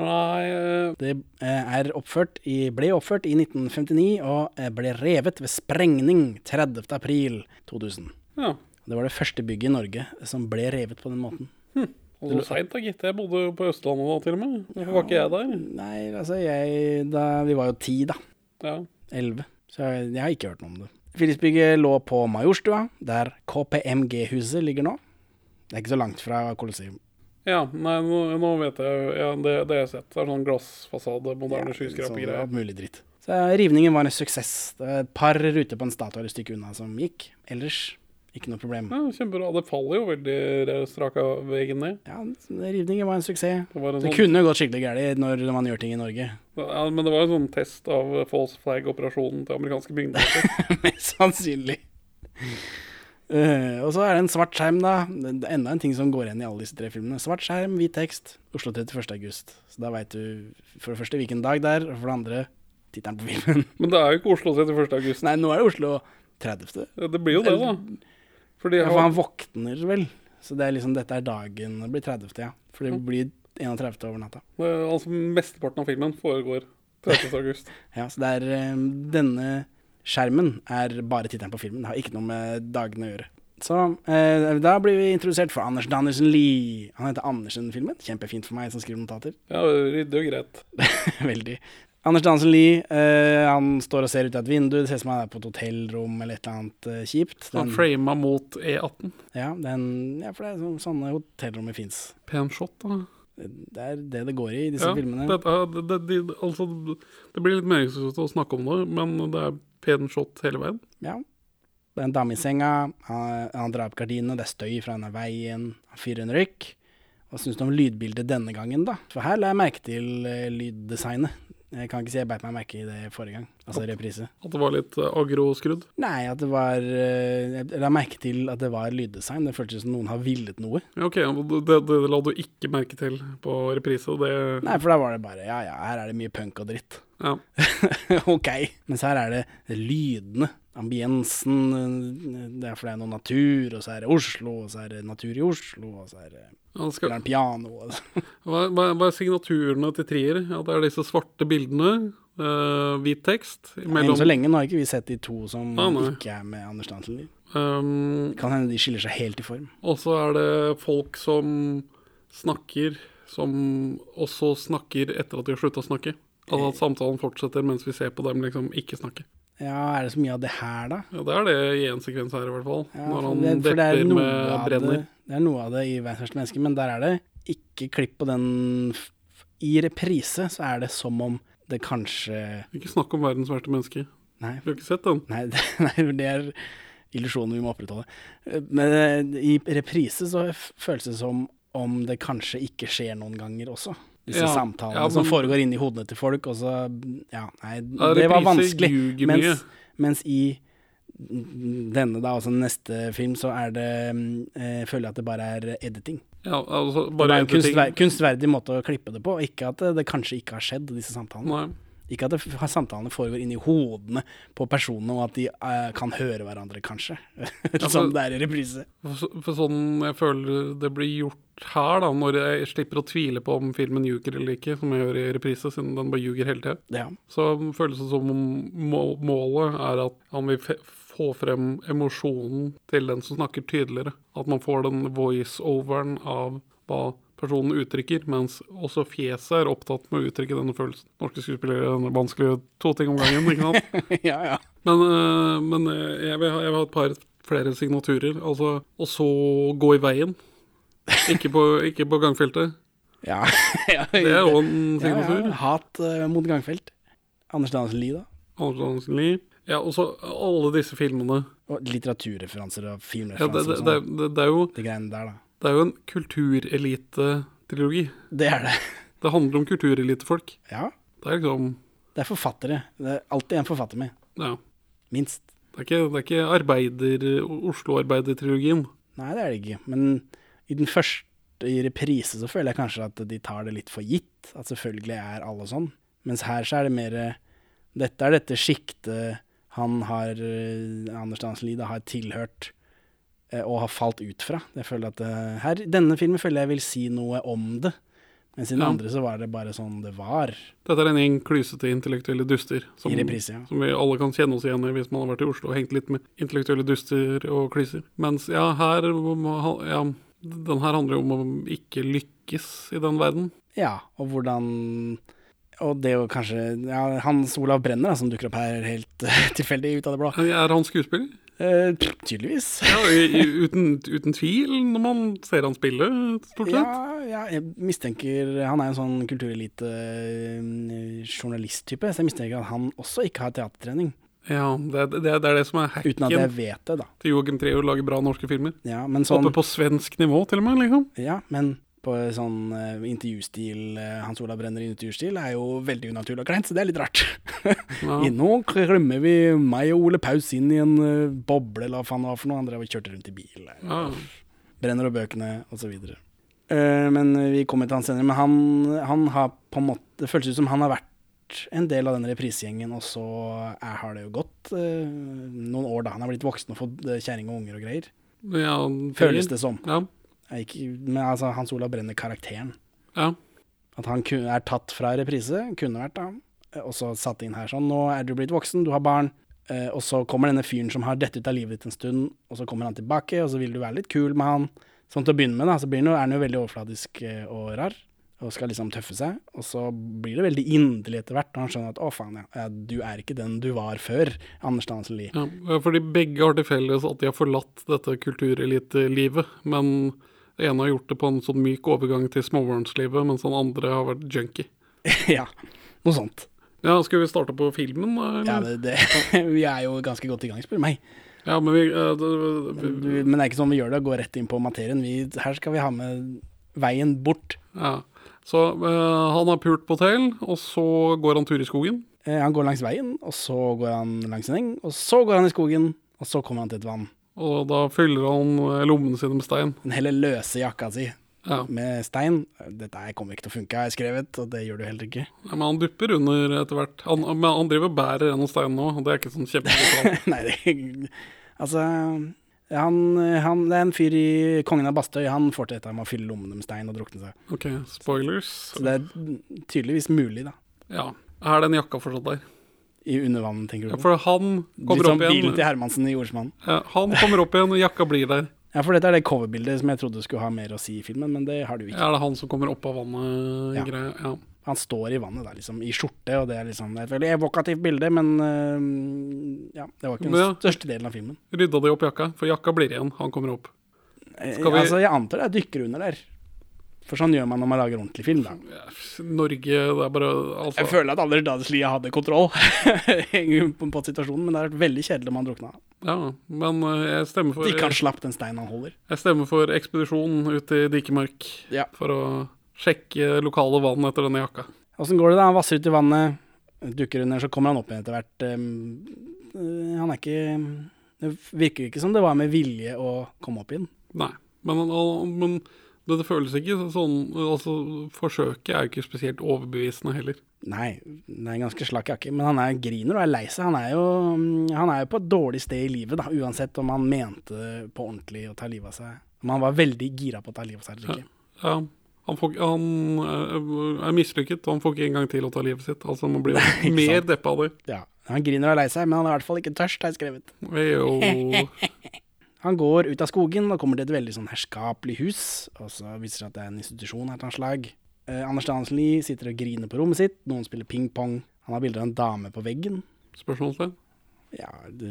Nei, eh,
Det eh, er oppført i, ble oppført i 1959 og eh, ble revet ved sprengning 30. april 2000.
ja.
Det var det første bygget i Norge som ble revet på den måten.
Og så seint, da, gitt. Jeg bodde jo på Østlandet da, til og med. Hvorfor var ikke jeg der?
Nei, altså jeg da, Vi var jo ti, da.
Ja.
Elleve. Så jeg, jeg har ikke hørt noe om det. Philipsbygget lå på Majorstua, der KPMG-huset ligger nå. Det er ikke så langt fra Colosseum.
ja nei, nå, nå vet jeg jo- ja, det, det har jeg sett. Det er sånn glassfasade, moderne
Ja, sånn
skyskrapergreier.
alt mulig dritt. Så rivningen var en suksess. Det var et par ruter på en statue et stykke unna som gikk. Ellers ikke noe problem.
Ja, kjempebra. Det faller jo veldig straka veggen ned.
Ja, rivningen var en suksess.
Det var en
Det
sånn,
kunne gått skikkelig gærent når man gjør ting i Norge.
ja, men det var en sånn test av false flag-operasjonen til amerikanske myndigheter.
Mest sannsynlig. Eh, og så er det en svart skjerm, da. Det er enda en ting som går igjen i alle disse tre filmene. Svart skjerm, hvit tekst, Oslo 31. august. Så da veit du for det første hvilken dag det er, og for det andre tittelen på filmen.
Men det er jo ikke Oslo 31. august.
Nei, nå er det Oslo 30.
Det blir jo det, da. Fordi
Ja, for han våkner vel. Så det er liksom, dette er dagen det blir 30., ja. For det blir 31. over natta.
Det er Altså, mesteparten av filmen foregår 30. august.
Ja, så det er eh, Denne skjermen er bare tittelen på filmen. Det har ikke noe med dagene å gjøre. Så eh, da blir vi introdusert for Anders Danielsen Lie. Han heter Andersen i filmen. Kjempefint for meg som skriver notater.
Ja, ryddig og greit.
Veldig. Anders Danielsen Lie, eh, han står og ser ut av et vindu. Det ser ut som han er på et hotellrom eller et eller annet eh, kjipt.
Han
Den,
frama mot E18.
ja, den, ja, for det er sånne, sånne hotellrom fins.
Pen shot, da.
Det er det det går i i disse
Ja,
filmene.
det, det, det, det, altså, det blir litt meningsløst å snakke om det, men det er pen shot hele veien.
Ja. Det er en dame i senga, han, han drar opp gardinene, det er støy fra denne veien, han fyrer en røyk. Hva syns du om lydbildet denne gangen, da? For her la jeg merke til eh, lyddesignet. Jeg kan ikke si jeg beit meg merke i det forrige gang. Altså reprise.
At det var litt eh, agro-skrudd.
Nei, at det var eh, Jeg la merke til at det var lyddesign. Det føltes som noen har villet noe.
Ja, ok, det, det, det la du ikke merke til på reprise. Det,
Nei, for da var det bare Ja ja, her er det mye punk og dritt.
ja.
ok. Mens her er det lydene. Ambiensen. eh, Det er for det er noe natur, og så er det Oslo, og så er det natur i Oslo, og så er det
Ja, det skal,
spiller han piano og så.
hva, hva, hva er signaturene til trier? Ja, det er disse svarte bildene, eh, hvit tekst
Enn
mellom
så lenge nå har ikke vi sett de to som
Ah, nei.
ikke er med Anders Dansen.
um,
Kan hende de skiller seg helt i form.
Og så er det folk som snakker, som også snakker etter at de har slutta å snakke. Altså at samtalen fortsetter mens vi ser på dem liksom ikke snakke.
Ja, er det så mye av det her, da?
Ja, Det er det i en sekvens her, i hvert fall.
Ja,
når
for
han
det- for det er
detter
noe
med
av
brenner.
Det, det er noe av det i Verdens verste menneske, men der er det ikke klipp på den f- I reprise så er det som om det kanskje
Ikke snakk om verdens verste menneske.
Nei,
Du har ikke sett den?
nei, det, nei det er illusjonen vi må opprettholde. Men eh, i reprise så f- føles det som om det kanskje ikke skjer noen ganger også. Disse
Ja,
samtalene
ja,
som
men-
foregår inni hodene til folk, og så Ja, nei,
Ja,
det var
repriser
vanskelig.
ljuger mye.
Mens, mens i denne, da, altså neste film, så er det eh, Føler jeg at det bare er editing.
Ja, altså
det
bare
er
en
en kunstver
ting.
kunstverdig måte å klippe det på. og Ikke at det, det kanskje ikke har skjedd, disse samtalene.
Nei.
Ikke at det, f- samtalene foregår inni hodene på personene, og at de eh, kan høre hverandre, kanskje.
Altså-
som det er i reprise.
For, for sånn jeg føler det blir gjort her, da, når jeg slipper å tvile på om filmen ljuger eller ikke, som jeg gjør i reprise, siden den bare ljuger hele tida.
Ja.
Så føles det som om må- målet er at han vil fe- få frem emosjonen til den som snakker tydeligere. At man får den voice-overen av hva personen uttrykker, mens også fjeset er opptatt med å uttrykke denne følelsen. Norske skuespillere er vanskelig å gjøre to ting om gangen, ikke sant?
ja, ja.
Men, øh, men øh, jeg, vil ha, jeg vil ha et par flere signaturer. Altså, og så gå i veien. Ikke på, ikke på gangfeltet.
ja, ja.
Det er jo en
Ja, ja,
signatur.
Hat eh, mot gangfelt. Anders Danielsen Lie, da.
Anders Andersen Lie. Ja, og så alle disse filmene.
Og litteraturreferanser og
Ja, det,
filmreferanser
det,
og
det,
sånn.
det, det, er jo,
De greiene der, da.
det er jo en kulturelite-trilogi.
Det er det.
Det handler om kulturelitefolk.
Ja.
Det er liksom
Det er forfattere. Det er alltid en forfatter med.
Ja.
Minst.
Det er ikke, det er ikke arbeider, Oslo-arbeidertrilogien.
Nei, det er det ikke. Men i den første i reprise så føler jeg kanskje at de tar det litt for gitt. At selvfølgelig er alle sånn. Mens her så er det mer eh, Dette er dette sjiktet han har eh, Anders Dansen Lie da har tilhørt eh, og har falt ut fra. Jeg føler at eh, her, Denne filmen føler jeg vil si noe om det. Mens i den
Ja.
andre så var det bare sånn det var.
Dette er en gjeng klysete intellektuelle duster. Som,
I reprise, ja.
som vi alle kan kjenne oss igjen i hvis man har vært i Oslo og hengt litt med intellektuelle duster og klyser. Mens ja, her må- ja, Den her handler jo om å ikke lykkes i den verden.
Ja, og hvordan Og det å kanskje ja, Hans Olav Brenner, da, som dukker opp her helt tilfeldig ut av det blå.
Er han skuespiller?
Eh, pff, tydeligvis.
Ja, i, i, uten, uten tvil, når man ser han spille, stort
Ja,
sett.
ja, jeg mistenker Han er en sånn kulturelite-journalisttype, så jeg mistenker at han også ikke har teatertrening.
Ja, det, er- det, er- det er det som er
Uten at jeg
hacken
vet det, da.
til Joakim Treo å lage bra norske filmer.
Ja, men sånn,
Oppe på svensk nivå, til og med. liksom.
ja, men på sånn eh, intervjustil eh, Hans Olav Brenner i intervjustil er jo veldig unaturlig og kleint, så det er litt rart.
Ja.
I Nå klemmer vi meg og Ole Paus inn i en eh, boble, eller hva faen det var for noe. Han drev og kjørte rundt i bil. eh.
Ja.
Brenner og bøkene, osv. Uh, men vi kommer til han senere. Men han, han har på en måte Det føles ut som han har vært en del av den reprisegjengen, og så er, har det jo gått eh, noen år da han er blitt voksen og fått eh, kjerring og unger og greier.
ja,
Føles det som.
Ja.
Jeg, ikke, men altså, Hans Olav Brenner-karakteren.
ja.
At han kun, er tatt fra reprise, kunne vært da, eh, og så satt inn her sånn. Nå er du blitt voksen, du har barn. eh, og så kommer denne fyren som har dette ut av livet ditt en stund, og så kommer han tilbake, og så vil du være litt kul med han. Sånn til å begynne med, da, så blir han jo, er han jo veldig overfladisk eh, og rar, og skal liksom tøffe seg. Og så blir det veldig inderlig etter hvert, og han skjønner at å faen, ja, ja, du er ikke den du var før, Anders Dansen Lie.
Ja, fordi begge har til felles at de har forlatt dette kulturelitelivet, men det ene har gjort det på en sånn myk overgang til småbarnslivet, mens den andre har vært junkie.
ja, noe sånt.
Ja, skal vi starte på filmen, da?
Ja,
Eller?
det, det, vi er jo ganske godt i gang, spør du meg.
Ja, men vi, eh, det-
Men
vi
det er ikke sånn vi gjør det, å gå rett inn på materien. Vi, her skal vi ha med veien bort.
ja. Så eh, han har pult på hotell, og så går han tur i skogen.
Eh, Han går langs veien, og så går han langs en eng, og så går han i skogen, og så kommer han til et vann.
Og da fyller han eh, lommene sine med stein.
Den heller løse jakka si
Ja.
med stein. Dette her kommer ikke til å funke, har jeg skrevet, og det gjør du heller ikke.
Ja, Men han dupper under etter hvert. Han, men han driver og bærer en av steinene nå, og det er ikke sånn kjempebra.
Nei, det Altså han, han, det er en fyr i Kongen av Bastøy. Han får til dette med å fylle lommene med stein og drukne seg.
Ok, spoilers.
Så det er tydeligvis mulig, da.
Ja. Er den jakka fortsatt der?
I undervann, tenker du.
Ja,
på.
for han
Litt
kommer
sånn
opp
bilen
igjen.
til Hermansen i Jordsmann.
Ja, han kommer opp igjen, og jakka blir der.
Ja, for dette er det coverbildet som jeg trodde skulle ha mer å si i filmen, men det har det jo ikke.
Er det han som kommer opp av vannet?
Ja.
Ja. Greia? ja.
Han står i vannet der, liksom, i skjorte, og det er liksom Det er et veldig evokativt bilde, men øh, ja, det var ikke den
Ja.
største delen av filmen.
Rydda de opp jakka? For jakka blir igjen, han kommer opp.
Eh,
Skal vi-
Altså, jeg antar det er dykker under der. For sånn gjør man når man lager ordentlig film, da.
Norge, det er bare altså,
Jeg føler at allerede da Slia hadde kontroll på, på situasjonen, men det er veldig kjedelig om han drukna.
Ja, men eh, jeg stemmer for
Ikke han slapp den steinen han holder.
Jeg stemmer for ekspedisjon ut i Dikemark
Ja.
for å sjekke lokale vann etter denne jakka.
Åssen går det, da? Han vasser ut i vannet, dukker under, så kommer han opp igjen etter hvert. Eh, Han er ikke Det virker ikke som det var med vilje å komme opp igjen.
Nei, men, men det, det føles ikke sånn Altså, forsøket er jo ikke spesielt overbevisende heller.
Nei, det er en ganske slakk jakke, men han er griner og er lei seg. Han er, jo, han er jo på et dårlig sted i livet, da, uansett om han mente det på ordentlig å ta livet av seg. Om han var veldig gira på å ta livet av seg eller ikke.
Ja, han, får, ikke- han eh, er mislykket, og han får ikke engang til å ta livet sitt. Altså, man blir jo mer deppa av det.
Ja, Han griner og er lei seg, men han er i hvert fall ikke tørst, har jeg skrevet.
Vi er jo
Han går ut av skogen og kommer til et veldig sånn herskapelig hus, og så viser det seg at det er en institusjon av et eller annet slag. Eh, Anders Danielsen-Lie sitter og griner på rommet sitt, noen spiller ping-pong. Han har bilder av en dame på veggen.
Spørsmålstegn?
Ja, det,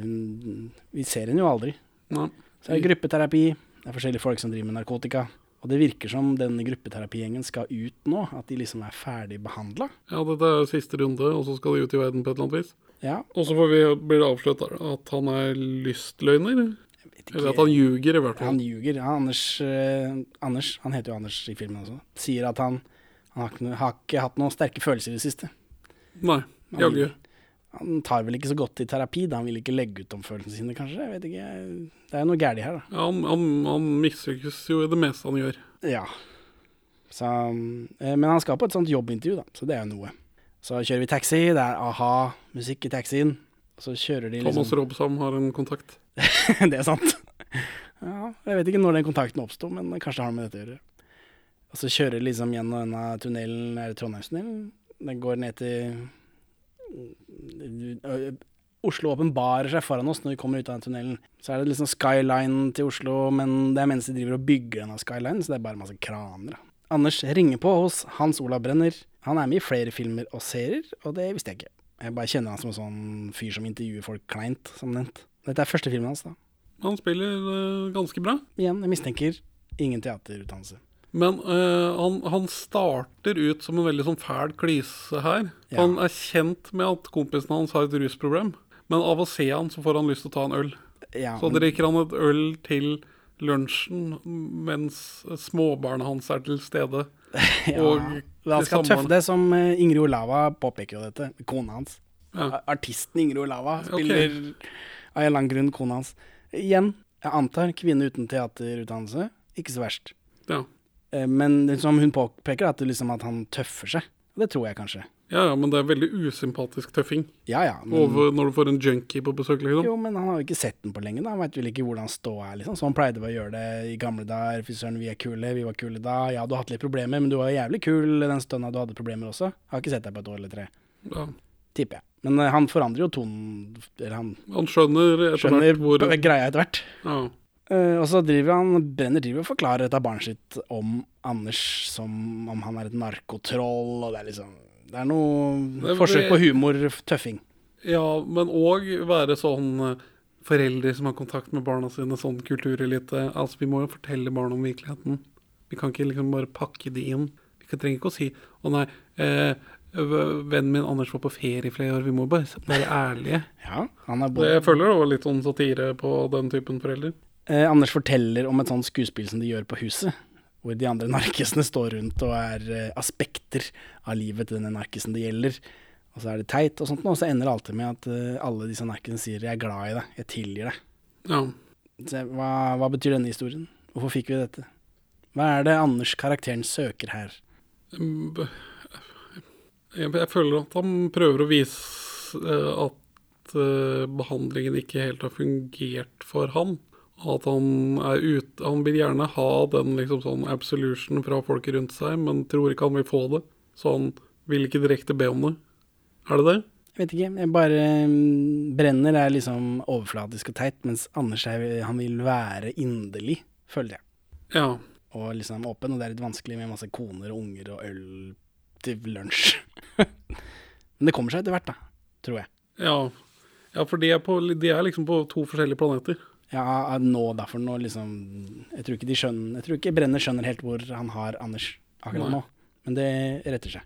vi ser henne jo aldri.
Nei.
Så er det gruppeterapi, det er forskjellige folk som driver med narkotika. Og det virker som denne gruppeterapigjengen skal ut nå, at de liksom er ferdig behandla.
Ja, dette er jo siste runde, og så skal de ut i verden på et eller annet vis.
Ja,
Og så får vi blir det avslørt der at han er lystløgner.
vet
Eller at han ljuger, i hvert fall.
Han ljuger. Ja, Anders, eh, Anders, han heter jo Anders i filmen også, sier at han, han har, ikke, noe- har ikke hatt noen sterke følelser i det siste.
Nei,
Han
jaggu.
ljuger. Han tar vel ikke så godt i terapi, da han vil ikke legge ut om følelsene sine, kanskje. Jeg vet ikke. Det er jo noe gærent her,
Ja, han, han, han mislykkes jo i det meste han gjør.
da. Ja. Så, eh, men han skal på et sånt jobbintervju, da, så det er jo noe. Så kjører vi taxi, det er a-ha-musikk i taxien. Så kjører de
Thomas
liksom
Robsham har en kontakt.
Det er sant. Ja, jeg vet ikke når den kontakten oppsto, men kanskje det har noe med dette å gjøre. Og så kjører de liksom gjennom denne tunnelen, er det Trondheimstunnelen? Den går ned til Ø- Oslo åpenbarer seg foran oss når vi kommer ut av den tunnelen. Så er det liksom skyline til Oslo, men det er mens de driver og bygger denne skylinen, så det er bare masse kraner. da. Anders ringer på hos Hans Olav Brenner. Han er med i flere filmer og serier, og det visste jeg ikke. Jeg bare kjenner han som en sånn fyr som intervjuer folk kleint, som nevnt. Dette er første filmen hans, da.
Han spiller eh, ganske bra.
Igjen, jeg mistenker ingen teaterutdannelse.
Men eh, han, han starter ut som en veldig sånn fæl klise her.
Ja.
Han er kjent med at kompisen hans har et rusproblem, men av å se han så får han lyst til å ta en øl.
Ja,
Så
men,
drikker han et øl til lunsjen mens småbarnet hans er til stede.
ja.
og
Men han
det
skal
samme-
tøffe det, som eh, Ingrid Olava påpeker jo dette. Kona hans.
Ja.
A- Artisten Ingrid Olava spiller av en eller annen grunn kona hans. Igjen, jeg antar kvinne uten teaterutdannelse. Ikke så verst.
Ja.
Eh, Men det som hun påpeker, er at, det liksom at han tøffer seg. Og Det tror jeg kanskje.
Ja, ja, men det er veldig usympatisk tøffing
Ja ja. Men,
over når du får en junkie på besøk. Liksom.
jo, men han har jo ikke sett den på lenge. da Han veit vel ikke hvordan ståa er, liksom. Så han pleide bare å gjøre det i gamle dager. Fy søren, vi er kule, vi var kule da. Ja, du har hatt litt problemer, men du var jo jævlig kul den stunda du hadde problemer også. Jeg har ikke sett deg på et år eller tre.
Ja.
Tipper jeg. Men eh, han forandrer jo tonen Eller han
Han skjønner etter
skjønner
hvert hvor
greia etter hvert.
ja.
Eh, og så driver han Brenner driver og forklarer dette barnet sitt om Anders som om han er et narkotroll, og det er liksom Det er noe
Det er-
forsøk på humor-tøffing.
ja, men òg være sånn eh, foreldre som har kontakt med barna sine, sånn kulturelite. Altså, vi må jo fortelle barna om virkeligheten. Vi kan ikke liksom bare pakke de inn. Vi kan- trenger ikke å si 'Å nei, eh, v- vennen min Anders var på ferie i flere år'. Vi må bare være ærlige.
Ja, han er
Det,
både
jeg føler det var litt sånn satire på den typen foreldre.
Eh, Anders forteller om et sånt skuespill som de gjør på huset, hvor de andre narkisene står rundt og er eh, aspekter av livet til denne narkisen det gjelder. Og så er det teit og sånt, og så ender det alltid med at eh, alle disse narkene sier 'jeg er glad i deg', 'jeg tilgir deg'.
Ja.
Så, jeg- hva, hva betyr denne historien? Hvorfor fikk vi dette? Hva er det Anders karakteren søker her?
Mm, b- Jeg, jeg føler at han prøver å vise eh, at eh, behandlingen ikke helt har fungert for han. At han er ute Han vil gjerne ha den liksom sånn absolution fra folket rundt seg, men tror ikke han vil få det. Så han vil ikke direkte be om det. Er det det?
Jeg vet ikke, jeg bare mm, Brenner er liksom overflatisk og teit, mens Anders er, han vil være inderlig, føler jeg.
Ja.
Og liksom åpen, og det er litt vanskelig med masse koner og unger og øl til lunsj. Men det kommer seg etter hvert, da. Tror jeg.
Ja, ja for de er, på, de er liksom på to forskjellige planeter.
Ja, nå derfor, nå liksom Jeg tror ikke de skjønner Jeg tror ikke Brenner skjønner helt hvor han har Anders akkurat
Nei.
nå, men det retter seg.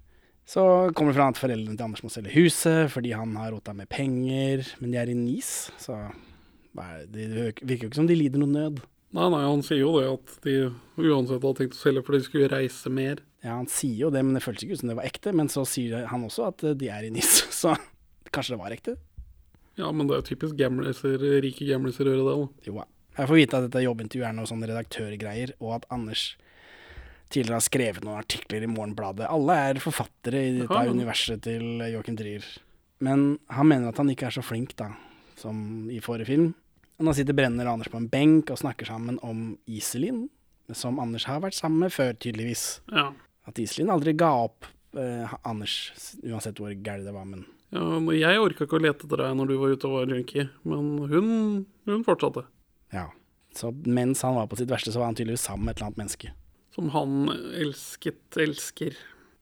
Så kommer det fra at foreldrene til Anders må selge huset fordi han har rota med penger, men de er i Nis, så hva er det det virker jo ikke som de lider noen nød.
Nei, nei, han sier jo det at de uansett hadde tenkt å selge fordi de skulle reise mer.
Ja, han sier jo det, men det føltes ikke ut som det var ekte. Men så sier han også at eh, de er i NIS, så kanskje det var ekte?
Ja, men det er jo typisk gamliser, rike gamliser å gjøre det. da.
Jo da. Jeg får vite at dette jobbintervjuet er noe sånn redaktørgreier, og at Anders tidligere har skrevet noen artikler i Morgenbladet. Alle er forfattere i dette
Jaha.
universet til Joachim Trier. Men han mener at han ikke er så flink, da, som i forrige film. Og nå sitter Brenner og Anders på en benk og snakker sammen om Iselin, som Anders har vært sammen med før, tydeligvis.
Ja.
At Iselin aldri ga opp eh, Anders, uansett hvor gærent det var, men
ja men jeg orka ikke å lete etter deg når du var ute og var junkie, men hun, hun fortsatte.
ja. Så mens han var på sitt verste, så var han tydeligvis sammen med et eller annet menneske.
Som han elsket, elsker.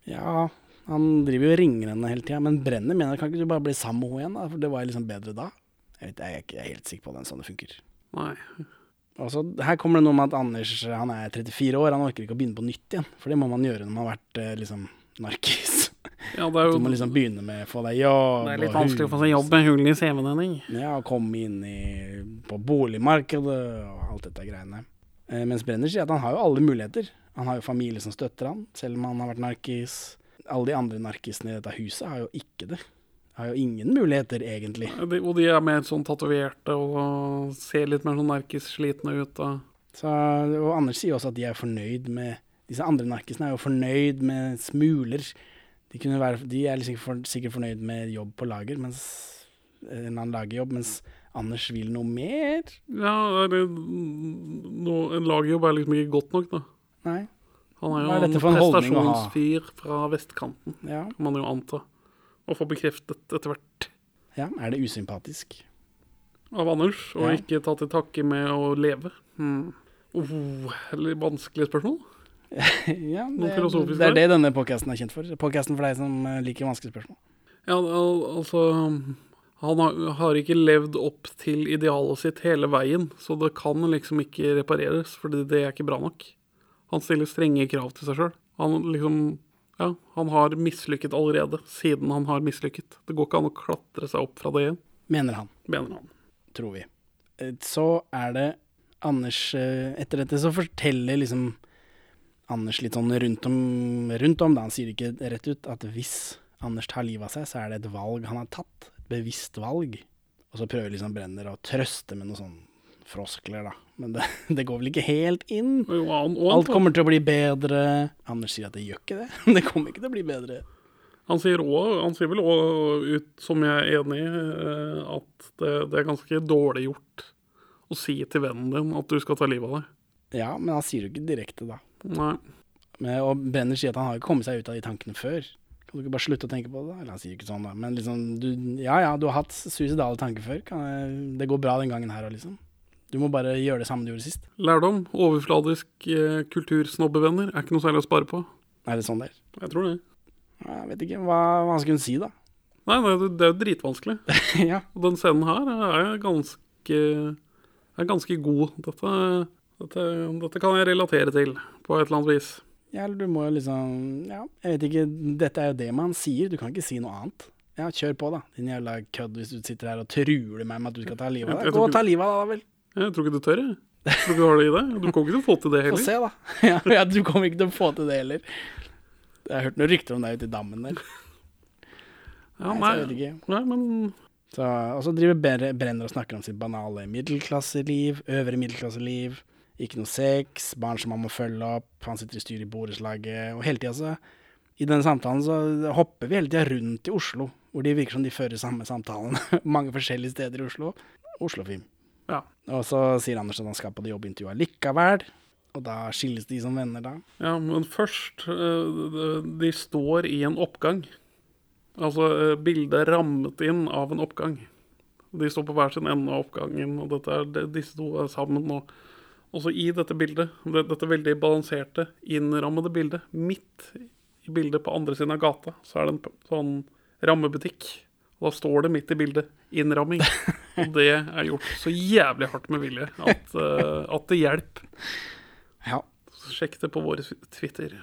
Ja, han driver jo og ringer henne hele tida, men Brenner mener kan ikke du bare bli sammen med henne igjen, da? For det var liksom bedre da. Jeg, vet, jeg er ikke jeg er helt sikker på den sånn det funker.
Nei.
Og så Her kommer det noe med at Anders han er 34 år, han orker ikke å begynne på nytt igjen. For det må man gjøre når man har vært eh, liksom narkis.
Ja, det er
Du
jo
må liksom begynne med å få deg jobb.
det er litt
og
vanskelig å få seg
hus.
jobb med hull i CV-en, Henning.
Ja, og komme inn i, på boligmarkedet og alt dette greiene. Eh, mens Brenner sier at han har jo alle muligheter. Han har jo familie som støtter han, selv om han har vært narkis. Alle de andre narkisene i dette huset har jo ikke det. Har jo ingen muligheter, egentlig.
Ja, de- Og de er mer sånn tatoverte og ser litt mer sånn nerkisslitne ut. Da.
Så, og Anders sier også at de er fornøyd med Disse andre narkisene er jo fornøyd med smuler. De, kunne være, de er liksom for, sikkert fornøyd med jobb på lager, mens en eller annen lagerjobb, mens Anders vil noe mer.
Ja, eller no, En lagjobb er liksom ikke godt nok, da.
Nei.
Han er jo
Hva er
en
dette for en holdning å ha?
prestasjonsfyr fra vestkanten,
Ja.
kan man jo anta. Og få bekreftet etter hvert
ja. Er det usympatisk?
av Anders, og
Ja.
ikke ta til takke med å leve. Hmm. Oh, eller vanskelig spørsmål.
Ja,
Noe
det,
filosofisk
det er
der?
det denne podkasten er kjent for. Podkasten for deg som eh, liker vanskelige spørsmål.
Ja, al- altså Han har, har ikke levd opp til idealet sitt hele veien, så det kan liksom ikke repareres, fordi det er ikke bra nok. Han stiller strenge krav til seg sjøl. Han liksom Ja, han har mislykket allerede, siden han har mislykket. Det går ikke an å klatre seg opp fra det igjen,
Mener han,
mener han.
tror vi. Eh, Så er det Anders eh, Etter dette så forteller liksom Anders litt sånn rundt om, rundt om da. Han sier ikke rett ut at hvis Anders tar livet av seg, så er det et valg han har tatt. Et bevisst valg. Og så prøver liksom Brenner å trøste med noe sånn froskler, da. Men det, det går vel ikke helt inn.
Og jo, han, og han,
Alt kommer til å bli bedre. Anders sier at det gjør ikke det. Det kommer ikke til å bli bedre.
Han sier, også, han sier vel òg ut, som jeg er enig i, eh, at det, det er ganske dårlig gjort å si til vennen din at du skal ta livet av deg.
Ja, men han sier jo ikke direkte, da.
Nei.
Men, og Brenner sier at han har ikke kommet seg ut av de tankene før. Kan du ikke bare slutte å tenke på det? da? Eller han sier ikke sånn, da. Men liksom, du, ja ja, du har hatt suicidale tanker før. Kan jeg, det går bra den gangen her òg, liksom. Du må bare gjøre det samme du gjorde sist.
Lærdom. Overfladisk eh, kultursnobbevenner er ikke noe særlig å spare på.
Er det sånn der?
Jeg tror det.
Ja, Jeg vet ikke. Hva, hva skulle hun si, da?
Nei, nei det, det er jo dritvanskelig.
ja.
Og den scenen her er ganske, er ganske god. Dette, dette, dette kan jeg relatere til på et eller annet vis.
ja, eller du må jo liksom Ja, jeg vet ikke. Dette er jo det man sier. Du kan ikke si noe annet. Ja, kjør på, da. Din jævla kødd hvis du sitter her og truer meg med at du skal ta livet av
Jeg
deg.
tror
Gå
ikke-
og ta livet av deg, da vel.
Jeg tror ikke du tør, jeg. Jeg tror ikke du har det i deg. Du kommer ikke til å få til det
Få
heller.
se, da. Ja, ja, du kommer ikke til å få til det heller. Jeg har hørt noen rykter om deg ute i dammen der.
Ja,
Nei,
nei,
så jeg vet ikke.
nei, men
Så, og så driver Ber- Brenner og snakker om sitt banale middelklasseliv, øvre middelklasseliv, ikke noe sex, barn som han må følge opp, han sitter i styret i borettslaget, og hele tida så I denne samtalen så hopper vi hele tida rundt i Oslo, hvor de virker som de fører samme samtalen mange forskjellige steder i Oslo. Oslofilm.
Ja.
Og så sier Anders at han skal på det jobbintervjuet likevel, og da skilles de som venner, da.
Ja, men først eh, De står i en oppgang. Altså, eh, bildet er rammet inn av en oppgang. De står på hver sin ende av oppgangen, og dette er, det- disse to er sammen nå. Og så i dette bildet, det- dette veldig balanserte, innrammede bildet, midt i bildet på andre siden av gata, så er det en p- sånn rammebutikk. Og da står det midt i bildet 'innramming'. Og det er gjort så jævlig hardt med vilje at, eh, at det hjelper.
Ja.
Sjekk det på våre Twitter.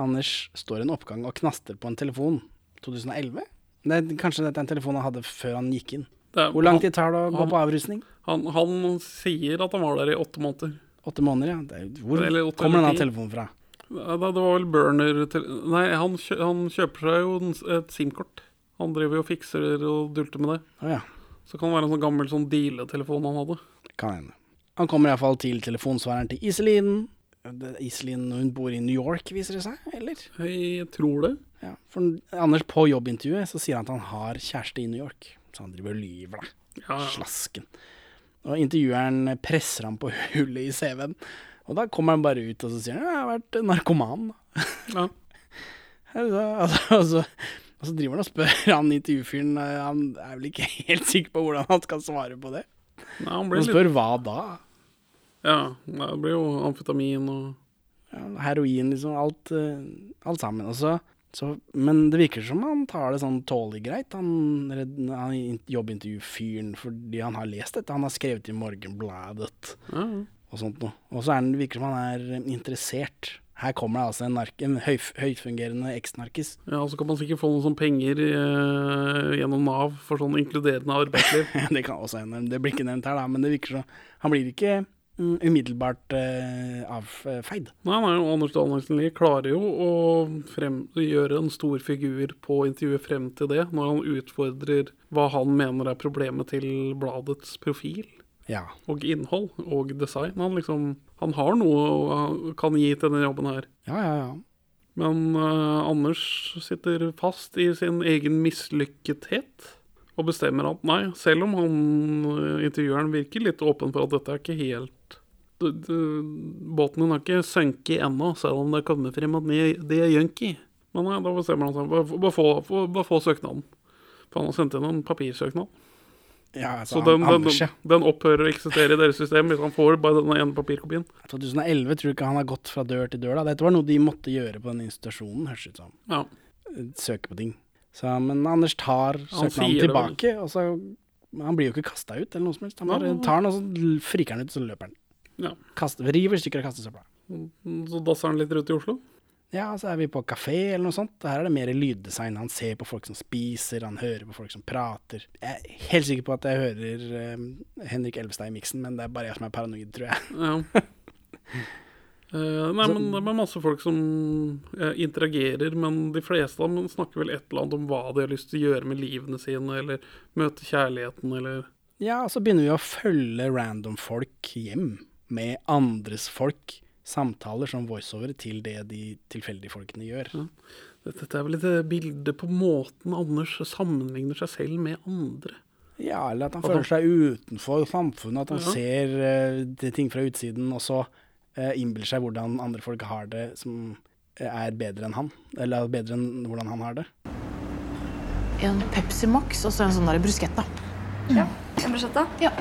Anders står i en oppgang og knaster på en telefon. 2011? Nei, kanskje dette er en telefon han hadde før han gikk inn.
Det er-
Hvor lang tid tar det å gå
Han-
på avrusning?
Han, han sier at han var der i åtte måneder.
Åtte måneder, ja. Det er, jo- hvor
Eller åtte
kommer
eller
denne
ti.
telefonen fra?
Nei, da, det var vel burner til Nei, han, kjø, han kjøper seg jo en s- et SIM-kort. Han driver jo og fikser og dulter med det.
Å ja,
Så kan det være en sånn gammel sånn dealetelefon han hadde.
kan hende. Han kommer iallfall til telefonsvareren til Iselin. Det- Iselin hun bor i New York, viser det seg, eller?
Jeg tror det.
Ja. For Anders, på jobbintervjuet så sier han at han har kjæreste i New York. Så han driver og lyver, da.
Ja, ja.
Slasken. Og intervjueren presser ham på hullet i CV-en. Og da kommer han bare ut og så sier han, ja, jeg har vært narkoman. da.
ja.
Altså, altså, altså, og så driver han og spør han intervjufyren eh, Han er vel ikke helt sikker på hvordan han skal svare på det.
Nei, han blir
Han
litt
spør hva da?
Ja, nei, det blir jo amfetamin og
Ja, heroin, liksom. Alt, eh, alt sammen. Og så, så, men det virker som han tar det sånn tålelig greit, han, redd- han in- jobbintervjufyren, fordi han har lest dette. Han har skrevet i Morgenbladet
ja. ja.
og sånt noe. Og så er han, virker det som han er eh, interessert. Her kommer det altså en, nark, en høy, høytfungerende eksnarkis.
Ja, og så kan man sikkert få noen sånne penger eh, gjennom Nav for sånn inkluderende arbeidsliv.
Det kan også hende. Det blir ikke nevnt her, da, men det virker som Han blir ikke mm, umiddelbart eh, avfeid.
Nei, nei, og Anders Danielsen Lie klarer jo å frem, gjøre en stor figur på intervjuet frem til det, når han utfordrer hva han mener er problemet til bladets profil
Ja.
og innhold og design. Han liksom Han har noe han kan gi til denne jobben her.
Ja, ja, ja.
Men eh, Anders sitter fast i sin egen mislykkethet og bestemmer at nei, selv om han eh, intervjueren virker litt åpen for at dette er ikke helt du, du, Båten din har ikke sunket ennå, selv om det kommer frem at de de er junkie. Men nei, da bestemmer han seg for å- bare få, få, bare få søknaden. For han har sendt inn en papirsøknad.
ja altså,
Så den, den,
Anders, ja.
den, opphører å eksistere i deres system hvis han får bare denne ene papirkopien.
2011 tror du ikke han har gått fra dør til dør, da. Dette var noe de måtte gjøre på den institusjonen, høres det ut som.
Ja.
Søke på ting. Så, men Anders tar søknaden
sier det vel.
tilbake, og så Han blir jo ikke kasta ut eller noe som helst. Han
Nei,
bare
nei, nei.
tar den, og så l- friker han ut, så løper han.
Ja.
Kaster, river i stykker og kaster søpla.
Så dasser han litt rundt i Oslo.
Ja, så er vi på kafé eller noe sånt. Her er det mer lyddesign. Han ser på folk som spiser, han hører på folk som prater. Jeg er helt sikker på at jeg hører eh, Henrik Elvestad-miksen, men det er bare jeg som er paranoid, tror jeg.
Ja. Eh, nei, men det er masse folk som eh, interagerer, men de fleste av dem snakker vel et eller annet om hva de har lyst til å gjøre med livene sine, eller møte kjærligheten, eller
Ja, og så begynner vi å følge random folk hjem med andres folk. Samtaler som voiceover til det de tilfeldige folkene gjør.
Dette er vel et eh, bilde på måten Anders sammenligner seg selv med andre.
Ja, eller at han føler seg utenfor samfunnet, at han
Ja.
ser eh, de ting fra utsiden, og så eh, innbiller seg hvordan andre folk har det som eh, er bedre enn han. Eller bedre enn hvordan han har det.
En Pepsi Max og så en sånn der bruschetta.
En bruschetta?
Ja,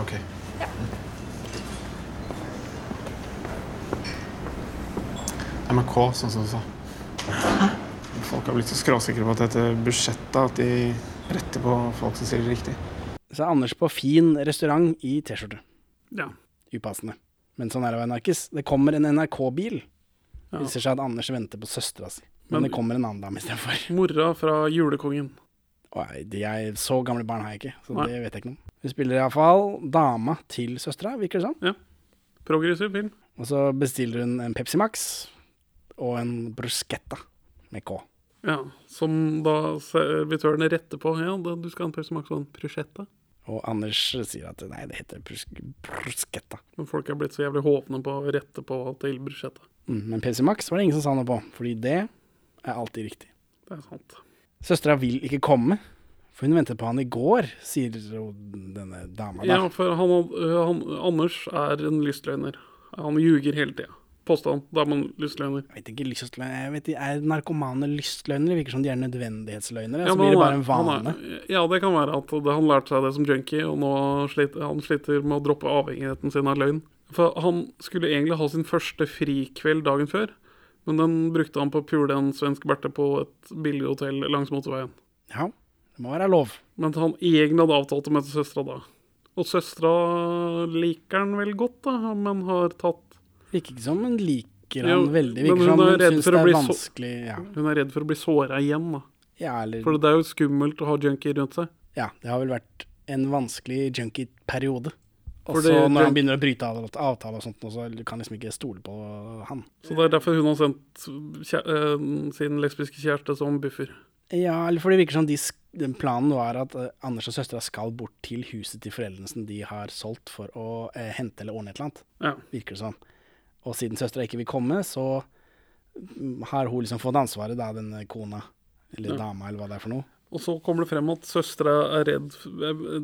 ok. MRK, sånn som du sa. Folk har blitt så skråsikre på at dette budsjettet at de retter på folk som sier det riktig.
Så er Anders på fin restaurant i T-skjorte.
Ja.
Upassende. Men sånn er det å være narkis. Det kommer en NRK-bil. Det viser seg at Anders venter på søstera si. Men,
Men-
det kommer en annen dame istedenfor.
Mora fra Julekongen.
Og jeg- de er- Så gamle barn har jeg ikke, så
Nei.
det vet jeg ikke noe om. Hun spiller iallfall dama til søstera, virker det som.
Progressiv film.
Og så bestiller hun en Pepsi Max og en bruschetta med K.
Ja, Som da servitøren retter på. Ja, da, du skal ha en pølse med sånn prosjetta.
Og Anders sier at nei, det heter prus bruschetta.
Men folk er blitt så jævlig hovne på å rette på til bruschetta.
Mm, men PC Max var det ingen som sa noe på, fordi det er alltid riktig.
Det er sant.
Søstera vil ikke komme, for hun ventet på han i går, sier jo denne dama
Ja,
da.
for han, øh, han, Anders er en lystløgner. Han ljuger hele tida. Påstand. Da er man lystløgner.
Jeg vet ikke, lystløgner, jeg vet, ikke, Er narkomane lystløgnere? Virker som de er nødvendighetsløgnere. så
men
blir det bare
han
en
er-
vane.
Han er, ja, det kan være at det, han lærte seg det som junkie, og nå sliter, han sliter med å droppe avhengigheten sin av løgn. For han skulle egentlig ha sin første frikveld dagen før, men den brukte han på å pule en svensk berte på et billig hotell langs motorveien.
Ja, det må være lov.
Mens han egentlig hadde avtalt å møte søstera da. Og søstera liker han vel godt, da, men har tatt
Virker ikke som hun liker han
Jo,
veldig.
men
Virker som
hun er
hun
redd
syns
for å
det er
bli så-
vanskelig ja.
Hun er redd for å bli såra igjen, da.
ja, eller
For det er jo skummelt å ha junkie rundt seg.
Ja, det har vel vært en vanskelig junkie-periode. Og
Fordi
så når
junk-
han begynner å bryte av- avtale og sånt, nå, så kan liksom ikke stole på han.
Så det er derfor hun har sendt kjæ eh, sin lesbiske kjæreste som buffer.
Ja, eller for det virker som de, sk- den planen var at eh, Anders og søstera skal bort til huset til foreldrene som de har solgt for å eh, hente eller ordne et eller annet,
Ja.
virker det som. Og siden søstera ikke vil komme, så mm, har hun liksom fått ansvaret, da, denne kona, eller dama, eller hva det er for noe.
Og så kommer det frem at søstera er redd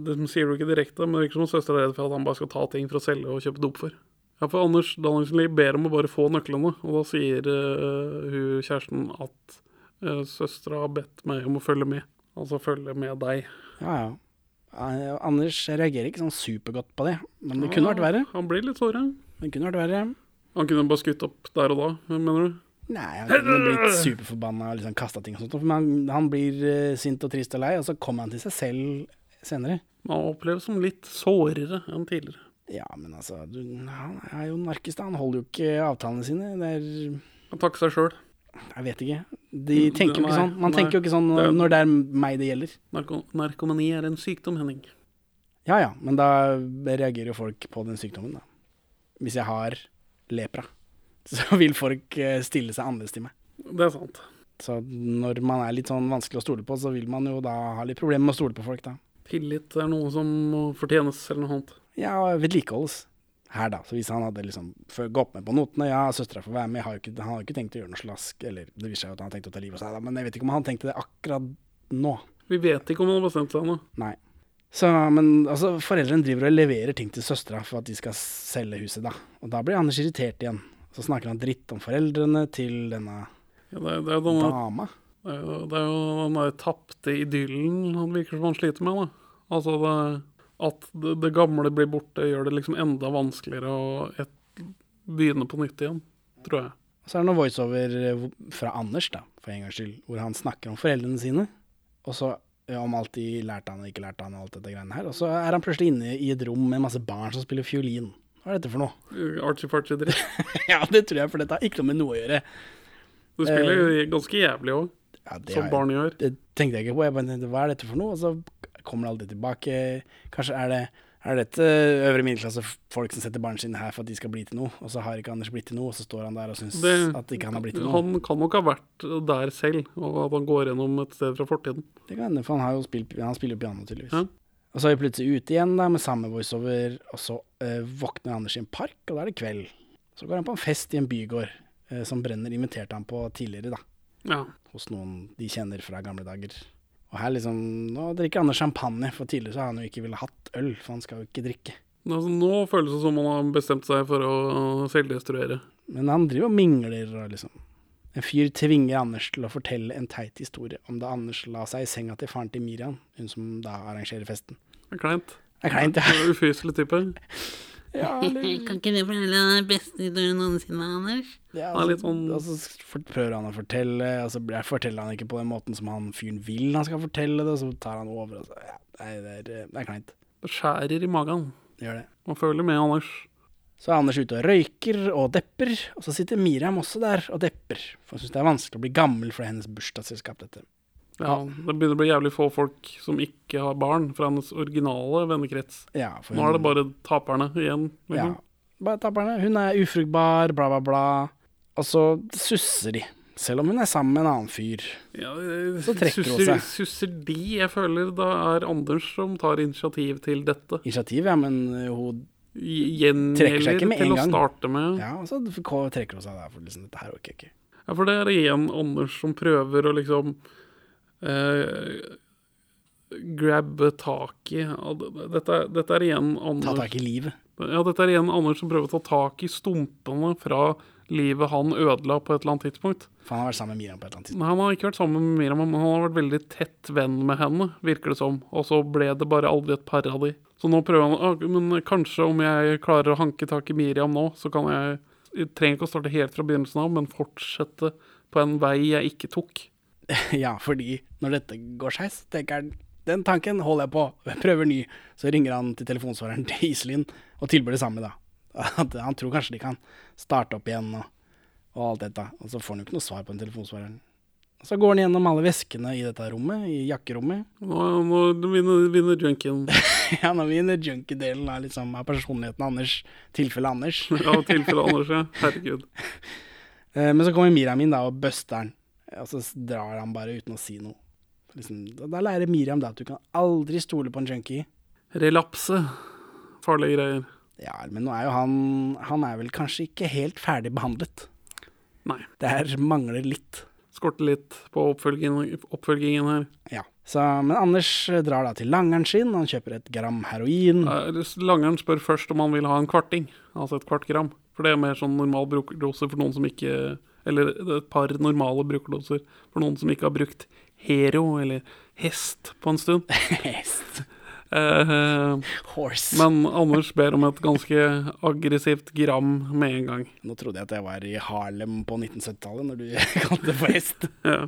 De sier det jo ikke direkte, men det virker som søstera er redd for at han bare skal ta ting for å selge og kjøpe dop for. Ja, for Anders Danielsen Lie ber om å bare få nøklene, og da sier eh, hun kjæresten at uh, søstera har bedt meg om å følge med. Altså følge med deg.
Ja, ja. Eh, Anders reagerer ikke sånn supergodt på det, men det kunne vært verre.
Han blir litt såra.
Det kunne vært verre.
Han kunne bare skutt opp der og da, mener du?
Nei, han kunne blitt superforbanna og liksom kasta ting og sånt. Men han, han blir eh, sint og trist og lei, og så kommer han til seg selv senere.
Men han oppleves som litt sårere enn tidligere.
Ja, men altså, du, han er jo narkist, da. Han holder jo ikke avtalene sine. Det er
Han takker seg sjøl.
Jeg vet ikke. De tenker jo
Mm, Nei,
ikke sånn. Man
nei.
tenker jo ikke sånn
Det er-
når, når det er meg det gjelder.
Narko narkomani er en sykdom, Henning.
Ja ja, men da reagerer jo folk på den sykdommen, da. Hvis jeg har lepra, så vil folk eh, stille seg annerledes til meg.
Det er sant.
Så når man er litt sånn vanskelig å stole på, så vil man jo da ha litt problemer med å stole på folk, da.
Tillit er noe som må fortjenes, eller noe annet.
Ja, og vedlikeholdes. Her, da. Så hvis han hadde liksom før- gått med på notene Ja, søstera får være med, har jo ikke, han har jo ikke tenkt å gjøre noe slask. Eller det viser seg jo at han har tenkt å ta livet av seg, da, men jeg vet ikke om han tenkte det akkurat nå.
Vi vet ikke om han har bestemt seg ennå.
Nei. Så, men altså, foreldrene driver og leverer ting til søstera for at de skal selge huset, da. Og da blir Anders irritert igjen. Så snakker han dritt om foreldrene til denne
Ja, det, er- det, er denne,
dama.
det, er jo- det er jo den der tapte idyllen han virker som han sliter med. da. Altså det, At det, det gamle blir borte, gjør det liksom enda vanskeligere å et, begynne på nytt igjen, tror jeg.
Og så er det noe voiceover eh, fra Anders, da, for en gangs skyld, hvor han snakker om foreldrene sine. Og så eh, om alt de lærte han og ikke lærte han og alt dette greiene her. Og så er han plutselig inne i et rom med masse barn som spiller fiolin. Hva er dette for noe?
Archie-farchie-dritt.
ja, det tror jeg, for dette har ikke noe med noe å gjøre.
Du spiller jo ganske jævlig òg,
Ja, Eh, det
som
har jeg-
barn gjør.
det tenkte jeg ikke på. Jeg bare tenkte, hva er dette for noe? Og så kommer det alltid tilbake. Kanskje er det er dette øvre middelklassefolk som setter barna sine her for at de skal bli til noe, og så har ikke Anders blitt til noe, og så står han der og syns
Det-
at ikke han har blitt til noe.
Han kan nok ha vært der selv, og at han går gjennom et sted fra fortiden.
Det kan hende, for han, har jo spilt, han spiller jo piano, tydeligvis.
Ja.
Og så er vi plutselig ute igjen da, med samme voiceover, og så eh, våkner Anders i en park, og da er det kveld. Så går han på en fest i en bygård eh, som Brenner inviterte han på tidligere, da.
Ja.
hos noen de kjenner fra gamle dager. Og her liksom, nå drikker Anders champagne, for tidligere så har han jo ikke ville hatt øl, for han skal jo ikke drikke.
Altså, nå føles det som han har bestemt seg for å selvdestruere.
Men han driver og mingler og liksom. En fyr tvinger Anders til å fortelle en teit historie om da Anders la seg i senga til faren til Miriam, hun som da arrangerer festen.
Det er Kleint.
Det er kleint,
Det
ja.
er Ufyselig type.
Kan ikke du fortelle den beste historien noensinne, Anders?
ja
er litt
altså,
sånn-
og så for- prøver han å fortelle, og så blir- forteller han ikke på den måten som han fyren vil han skal fortelle det, og så tar han over, og så ja, nei, det er, eh, det er kleint.
Det skjærer i magen.
Det gjør det.
Man føler med Anders.
Så er Anders ute og røyker og depper, og så sitter Miriam også der og depper. For hun syns det er vanskelig å bli gammel for det er hennes bursdagsselskap, dette.
Ja, Det begynner å bli jævlig få folk som ikke har barn, fra hennes originale vennekrets.
Ja, for hun,
Nå er det bare taperne igjen.
ja,
liksom.
bare taperne. Hun er ufruktbar, bla, bla, bla. Og så susser de Selv om hun er sammen med en annen fyr.
Ja, eh,
Så trekker hun
susser-
seg.
Susser de? Jeg føler det er Anders som tar initiativ til dette.
Initiativ, ja, men eh, hun Trekker seg
Gjengjelder
ikke med en
til å
gang.
starte med.
Ja, og så k- trekker hun seg der, for liksom, dette her orker jeg ikke.
Ja, for det er igjen Anders som prøver å liksom eh, grabbe tak i ja, d- dette, er- dette er igjen Anders
Ta tak i livet.
Ja, dette er igjen Anders som prøver å ta tak i stumpene fra livet han ødela på et eller annet tidspunkt.
For han har vært sammen med Miriam på et eller annet tidspunkt.
Nei, han har ikke vært sammen med Miriam, men han har vært veldig tett venn med henne, virker det som. Og så ble det bare aldri et par av de. Så nå prøver han «Ah, Men kanskje om jeg klarer å hanke tak i Miriam nå, så kan jeg Jeg trenger ikke å starte helt fra begynnelsen av, men fortsette på en vei jeg ikke tok.
Ja, fordi når dette går skeis, tenker han den tanken holder jeg på, jeg prøver ny. Så ringer han til telefonsvareren til Iselin og tilbyr det samme, da. At han tror kanskje de kan starte opp igjen og, og alt dette. Og så får han jo ikke noe svar på den telefonsvareren. Og så går han gjennom alle veskene i dette rommet, i jakkerommet.
Nå, nå vinner, vinner Junkin.
Ja, når vi er inne i junkie-delen av, liksom, av personligheten Anders, tilfellet Anders.
Ja, tilfellet Anders, ja. Herregud.
Eh, Men så kommer Miriam inn da og buster han, Eh, og så s- drar han bare uten å si noe. Liksom, da- da lærer Miriam da at du kan aldri stole på en junkie.
Relapse. Farlige greier.
Ja, men nå er jo han Han er vel kanskje ikke helt ferdig behandlet.
Nei.
Det her mangler litt.
Skorte litt på oppfølgingen, oppfølgingen her.
Ja. Så, men Anders eh, drar da til langeren sin, han kjøper et gram heroin.
Eh, Langeren spør først om han vil ha en kvarting, altså et kvart gram. For det er mer sånn normal brukerdose for noen som ikke Eller et par normale brukerdoser for noen som ikke har brukt hero eller hest på en stund.
Hest.
Eh,
Horse.
men Anders ber om et ganske aggressivt gram med en gang.
Nå trodde jeg at jeg var i Harlem på 1970-tallet, når du kalte det for hest.
Ja.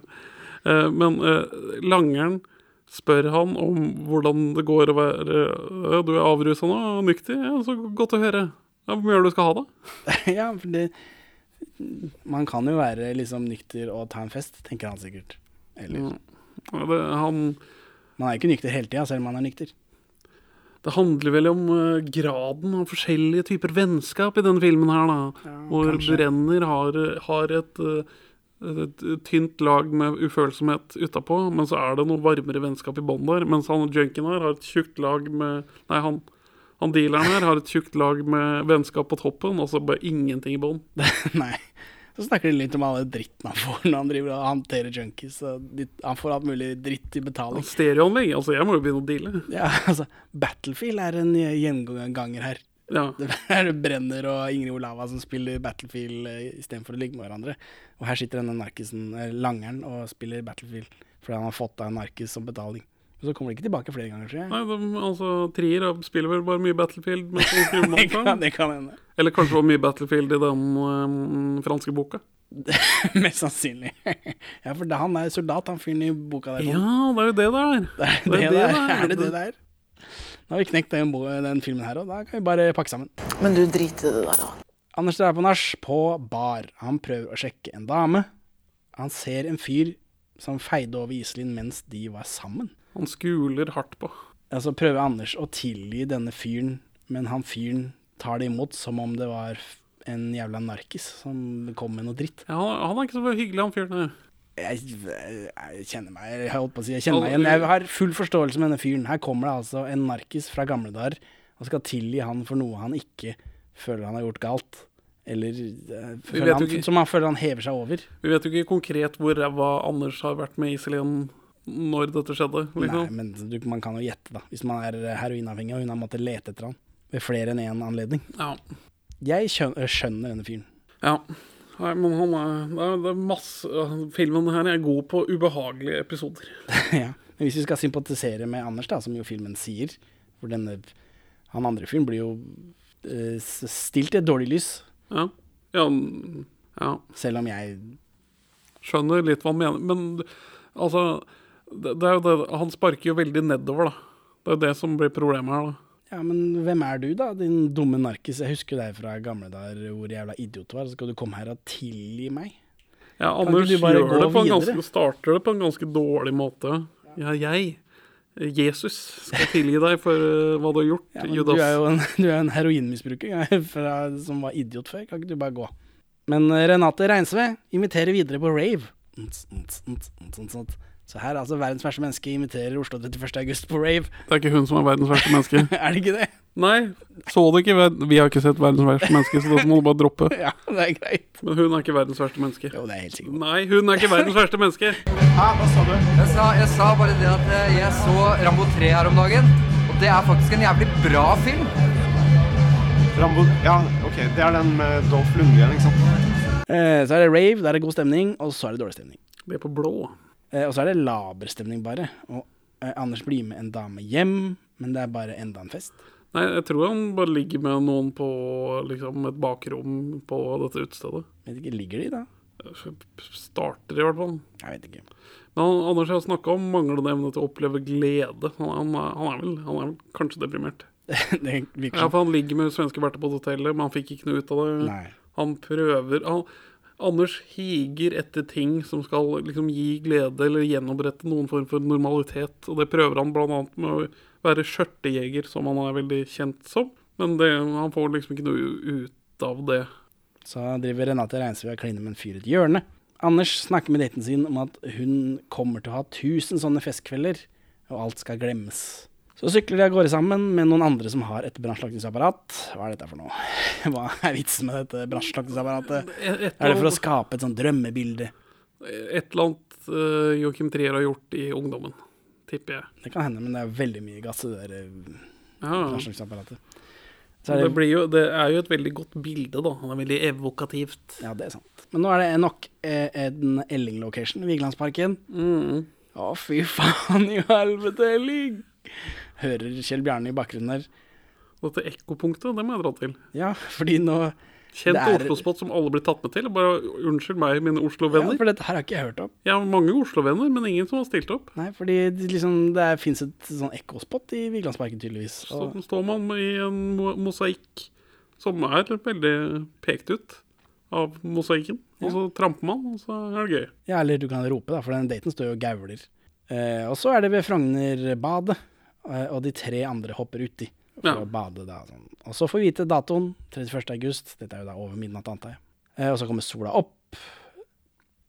Eh, Men eh, langeren spør han om hvordan det går å være «Ja, Du er avrusa nå, og nyktig? Ja, så godt å høre. Ja, hvor mye er det du skal ha, da?
Ja, for det Man kan jo være liksom nykter og ta en fest, tenker han sikkert. Eller
Mm. Ja, Det, han,
Man er jo ikke nykter hele tida, selv om man er nykter.
det handler vel om eh, graden av forskjellige typer vennskap i denne filmen her, da. hvor Brenner har, har et, eh, et tynt lag med ufølsomhet utapå, men så er det noe varmere vennskap i bånn der. Mens han junkien her har et tjukt lag med Nei, han, han dealeren her har et tjukt lag med vennskap på toppen, og så bare ingenting i bånn.
Nei. Så snakker de litt om alle dritten han får når han driver og håndterer junkies. Og de, han får alt mulig dritt i betaling.
Stereoanlegg? Altså, jeg må jo begynne å deale.
Ja, altså, Battlefield er en gjenganger her.
Ja.
Det er Brenner og Ingrid Olava som spiller Battlefield eh, istedenfor å ligge med hverandre. Og her sitter denne narkisen, eh, langeren, og spiller Battlefield fordi han har fått av en narkis som betaling. Og så kommer de ikke tilbake flere ganger, tror jeg.
Nei, de, altså, Trier spiller vel bare mye Battlefield. Mens de skriver
Det
manga.
kan, det kan hende.
Eller kanskje det var mye Battlefield i den eh, franske boka.
Mest sannsynlig. ja, for da, han er soldat, han fyren i boka der.
Ja, det er jo det det er.
Det er det, der. Er det det der? Nå har vi knekt den, bo- den filmen her, og da kan vi bare pakke sammen.
Men du driter i det der, da.
Anders drar på nach på bar. Han prøver å sjekke en dame. Han ser en fyr som feide over Iselin mens de var sammen.
Han skuler hardt på.
Og så prøver Anders å tilgi denne fyren, men han fyren tar det imot som om det var en jævla narkis som kom med noe dritt.
Ja, han, han er ikke så hyggelig, han fyren her.
Jeg, jeg kjenner meg jeg holdt på å si, jeg kjenner meg igjen. Jeg har full forståelse med denne fyren. Her kommer det altså en narkis fra gamle dager og skal tilgi han for noe han ikke føler han har gjort galt. Eller eh, føler
vet
han,
jo ikke.
som han føler han hever seg over.
Vi vet jo ikke konkret hvor ræva Anders har vært med Iselin når dette skjedde.
Nei,
Liksom.
men du, man kan jo gjette, da. Hvis man er eh, heroinavhengig og hun har måttet lete etter han ved flere enn én anledning.
Ja.
Jeg skjønner, skjønner denne fyren.
ja. Nei, men han er, det er, det er masse Filmen her er god på ubehagelige episoder.
ja. Men hvis vi skal sympatisere med Anders, da, som jo filmen sier For denne, han andre fyren blir jo eh, s- stilt i et dårlig lys,
Ja. Ja, mm, ja.
selv om jeg
Skjønner litt hva han mener. Men altså det, det er jo det, Han sparker jo veldig nedover, da. Det er jo det som blir problemet her, da.
Ja, men hvem er du, da, din dumme narkis? Jeg husker deg fra gamle dager hvor jævla idiot du var. Så skal du komme her og tilgi meg?
Ja,
ikke
Anders
du bare
gjør
gå
det på en
videre?
ganske, starter det på en ganske dårlig måte. Ja, jeg, Jesus, skal tilgi deg for eh, hva du har gjort,
Ja, men du
Judas.
er jo en, du er en heroinmisbruker ja, fra, som var idiot før. Kan ikke du bare gå? Men eh, Renate Reinsve inviterer videre på rave. Nts, nts, nts, nts, nts, nts. Så her, altså, verdens verste menneske inviterer Oslo 31. august på rave.
Det er ikke hun som er verdens verste menneske.
Er det ikke det?
Nei, så det ikke ver- Vi har ikke sett verdens verste menneske, så da må du bare droppe.
Ja, det er greit.
Men hun er ikke verdens verste menneske.
Jo, det er jeg helt sikkert.
Nei, hun er ikke verdens verste menneske.
Hæ, hva sa du? Jeg sa, jeg sa bare det at eh, jeg så Rambo 3 her om dagen. Og det er faktisk en jævlig bra film.
Rambo Ja, ok, det er den med Dolph Lundgren, ikke sant?
Eh, så er det rave, der er det god stemning, og så er det dårlig stemning.
Vi er på blå.
Eh, og så er det laber stemning, bare. Og eh, Anders blir med en dame hjem, men det er bare enda en fest.
Nei, jeg tror han bare ligger med noen på liksom, et bakrom på dette utestedet.
Vet ikke, Ligger de da?
Starter i hvert fall.
Jeg vet ikke.
Men han, Anders har snakka om manglende evne til å oppleve glede. Han, han, er- han, er, vel, han er vel kanskje deprimert.
det virker
Ja, for han ligger med svenske Berthe på et hotellet, men han fikk ikke noe ut av det.
Nei.
Han prøver han, Anders higer etter ting som skal liksom gi glede eller gjenopprette noen form for normalitet. Og det prøver han bl.a. med å være skjørtejeger, som han er veldig kjent som. Men det, han får liksom ikke noe u- ut av det.
Så driver Renate Reinsve og kliner med en fyr i et hjørne. Anders snakker med daten sin om at hun kommer til å ha 1000 sånne festkvelder, og alt skal glemmes. Så sykler de av gårde sammen med noen andre som har et brannslukningsapparat. Hva er dette for noe? Hva er vitsen med dette brannslukningsapparatet?
Et- et
Er det for
eller
å skape et sånt drømmebilde?
Et eller annet uh, Joakim Trier har gjort i ungdommen, tipper jeg.
Det kan hende, men det er veldig mye gass i det der eh,
Ja.
brannslukningsapparatet. Så
Mm.
er
Det,
det,
blir jo, det er jo et veldig godt bilde, da. Han er veldig evokativt.
ja, det er sant. Men nå er det nok eh, en Elling-location, Vigelandsparken.
Mm.
Å, fy faen i helvete, Elling! Hører Kjell Bjarne i bakgrunnen her.
Dette ekkopunktet, det må jeg dra til.
Ja, fordi nå
Kjent
Det er-
Oslo-spot som alle blir tatt med til. Bare unnskyld meg, mine
ja,
Oslo-venner.
For dette her har ikke jeg hørt om.
Jeg har mange Oslo-venner, men ingen som har stilt opp.
Nei, fordi det liksom, det fins et sånn ekkospott i Vigelandsparken, tydeligvis.
Så
Og,
står man i en mo- mosaikk som er veldig pekt ut av mosaikken. Og så tramper man, og så er det gøy.
ja, eller du kan rope, da, for den daten står jo og gauler. Eh, og så er det ved Frognerbadet, eh, og de tre andre hopper uti for
Ja.
å bade. da. Sånn. Og så får vi vite datoen, 31. august. Dette er jo da over midnatt, antar jeg. Eh, og så kommer sola opp,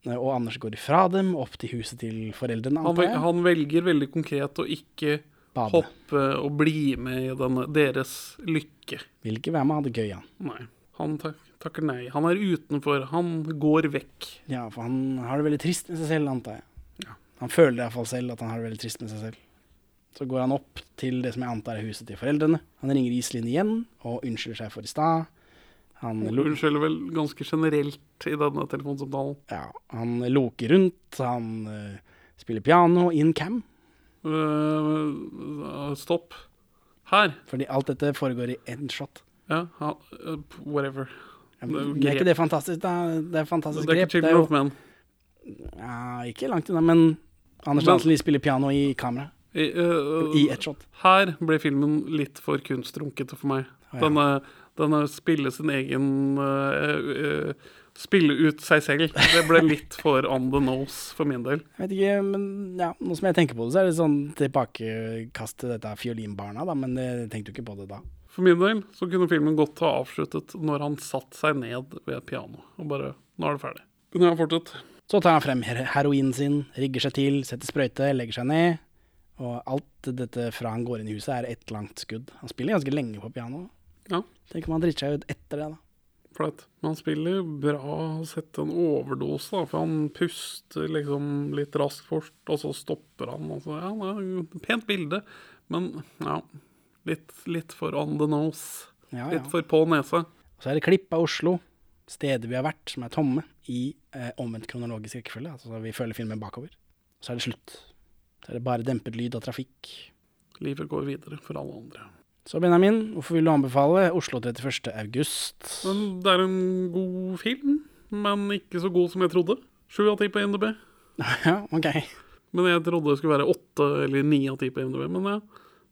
eh, og Anders går ifra dem, opp til huset til foreldrene,
Han,
antar
vel,
jeg.
han velger veldig konkret å ikke
Bade.
hoppe og bli med i denne, deres lykke.
Vil ikke være med, ha det gøy, han.
Nei. Han tak, takker nei. Han er utenfor. Han går vekk.
Ja, for han har det veldig trist med seg selv, antar jeg.
Ja.
Han føler iallfall selv at han har det veldig trist med seg selv. Så går han opp til det som jeg antar er huset til foreldrene. Han ringer Iselin igjen og unnskylder seg for i stad. Han, lo
Unnskylder vel ganske generelt i denne telefonsamtalen.
ja, han loker rundt, han eh, spiller piano in cam.
Øh, øh, stopp. Her.
Fordi alt dette foregår i én shot.
Ja, han, øh, whatever.
Ja,
Det er jo
men Er
grep.
ikke det fantastisk? da? Det er fantastisk
Det er ikke
Altså, grep.
Children of Men.
ja, ikke langt unna, men Anders
Men-
Dansen spiller piano i kamera.
I, øh,
I ett shot.
Her ble filmen litt for kunstrunkete for meg.
ja.
Denne, denne spille sin egen øh, øh, Spille ut seg selv. Det ble litt for on the nose for min del.
Jeg vet ikke, men ja, nå som jeg tenker på det, så er det sånn tilbakekast til dette fiolinbarna, da, men det tenkte jo ikke på det da.
For min del så kunne filmen godt ha avsluttet når han satte seg ned ved pianoet og bare Nå er det ferdig. Kunne jeg ha fortsatt.
Så tar han frem her- heroinen sin, rigger seg til, setter sprøyte, legger seg ned, og alt dette fra han går inn i huset er ett langt skudd. Han spiller ganske lenge på piano.
Ja.
Tenk om han driter seg ut etter det, da.
Flaut. Men han spiller bra å sette en overdose, da, for han puster liksom litt raskt fort, og så stopper han. Og så, ja, det er jo et pent bilde, men ja Litt, litt for on the nose.
Ja, ja.
Litt for på nesa.
Og så er det klipp av Oslo, steder vi har vært, som er tomme, i eh, omvendt kronologisk rekkefølge. Altså vi følger filmen bakover. Og så er det slutt. Så er det bare dempet lyd og trafikk.
Livet går videre for alle andre.
Så Benjamin, hvorfor vil du anbefale Oslo 31. august?
Men det er en god film, men ikke så god som jeg trodde. Sju av ti på NDB.
Ja, ok.
Men jeg trodde det skulle være åtte eller ni av ti på IMDb. Men ja,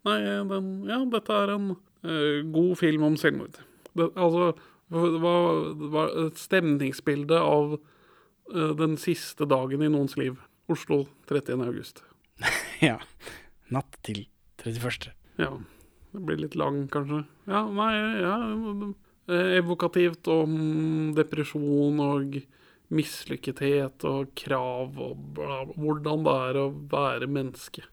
nei, den, ja, dette er en eh, god film om selvmord. Det, altså, det var, det var et stemningsbilde av eh, den siste dagen i noens liv. Oslo 31. august.
Ja. Natt til 31.
Ja. Det blir litt lang, kanskje. Ja, nei, ja, eh, evokativt om depresjon og mislykkethet og krav og bla, hvordan det er å være menneske.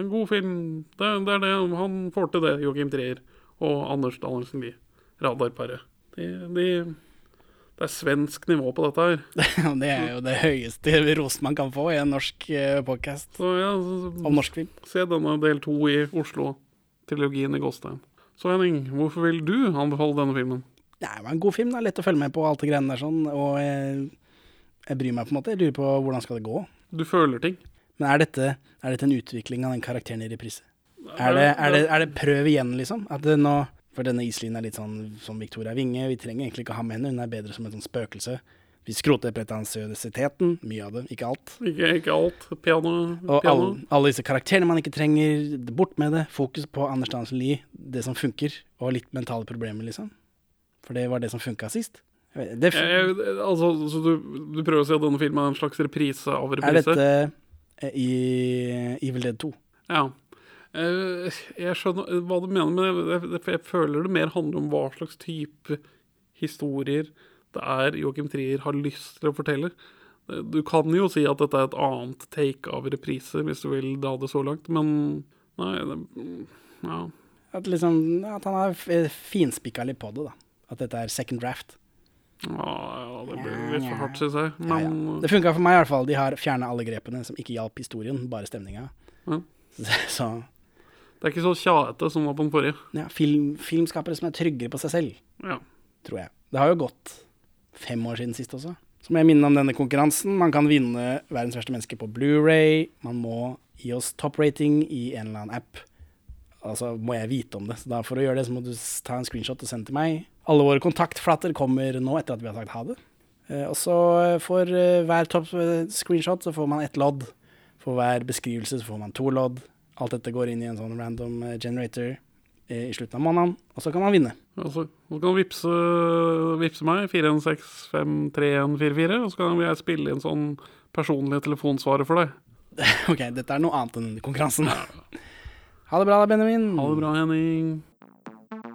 En god film. Det, det er det. Han får til det, Joakim Trier og Anders Danielsen Lie. Radarparet. De, de, det er svensk nivå på dette her.
det er jo det høyeste rosen man kan få i en norsk podkast
Så, ja, så-
om norsk film.
Se denne del to i Oslo-trilogien i Gåstein. Så Henning, hvorfor vil du anbefale denne filmen?
Nei, Det var en god film. Det er lett å følge med på alt det greiene der sånn. Og jeg, jeg bryr meg på en måte. Jeg lurer på hvordan skal det gå.
Du føler ting.
Men er dette, er dette en utvikling av den karakteren i reprise? Er det, er det, er det prøv igjen, liksom? At det nå, for denne Iselin er litt sånn som Victoria Winge. Vi trenger egentlig ikke ha med henne. Hun er bedre som et sånt spøkelse. Vi skroter pretensiøsiteten. Mye av det, ikke alt.
Ikke, ikke alt. Piano.
Og alle,
piano.
alle disse karakterene man ikke trenger, bort med det. Fokus på Anders Danielsen Lie, det som funker, og litt mentale problemer, liksom. For det var det som funka sist. Jeg vet- Det,
Jeg-
fun-
jeg- altså, så du, du prøver å si at denne filmen er en slags reprise av
er
reprise?
dette eh, i Evil Dead 2?
Ja. Eh, Jeg skjønner hva du mener, men jeg, jeg, jeg føler det mer handler om hva slags type historier det er Joakim Trier har lyst til å fortelle. Eh, Du kan jo si at dette er et annet take av reprise, hvis du vil dra det så langt, men nei det, mm, ja.
At, liksom, at han har f- finspikka litt på det, da. At dette er second draft.
Ja, ja, det blir litt for hardt, syns jeg. Men
Det funka for meg i hvert fall. De har fjerna alle grepene som ikke hjalp historien, bare stemninga.
Ja.
Så
det er ikke så tjaete som var på den forrige.
ja, film, filmskapere som er tryggere på seg selv,
Ja.
tror jeg. Det har jo gått fem år siden sist også. Så må jeg minne om denne konkurransen. Man kan vinne Verdens verste menneske på Blu-ray. Man må gi oss top-rating i en eller annen app. Altså må jeg vite om det. Så da for å gjøre det, så må du s- ta en screenshot og sende til meg. Alle våre kontaktflater kommer nå etter at vi har sagt ha det. Eh, Og så eh, for eh, hver topp-screenshot så får man ett lodd. For hver beskrivelse så får man to lodd. Alt dette går inn i en sånn random eh, generator eh, i slutten av måneden, og så kan man vinne.
Altså, så kan du vippse, vippse meg, 41653144, og så kan jeg spille inn sånn personlig telefonsvarer for deg.
Ok, dette er noe annet enn konkurransen. Ha det bra da, Benjamin. Ha det
bra, Henning.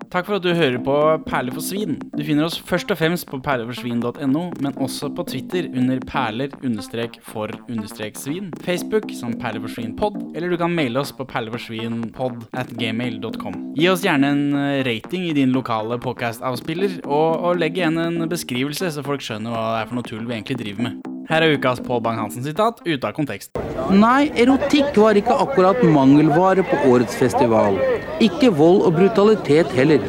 Takk for at du hører på Perler for svin. Du finner oss først og fremst på perleforsvin.no, men også på Twitter under perler-for-svin, Facebook som perleforsvinpod, eller du kan maile oss på perleforsvinpod at gmail.com. Gi oss gjerne en eh, rating i din lokale podcast-avspiller, og, og legg igjen en beskrivelse så folk skjønner hva det er for noe tull vi egentlig driver med. Her er ukas Pål Bang-Hansen-sitat ute av kontekst.
Nei, erotikk var ikke akkurat mangelvare på årets festival. Ikke vold og brutalitet heller.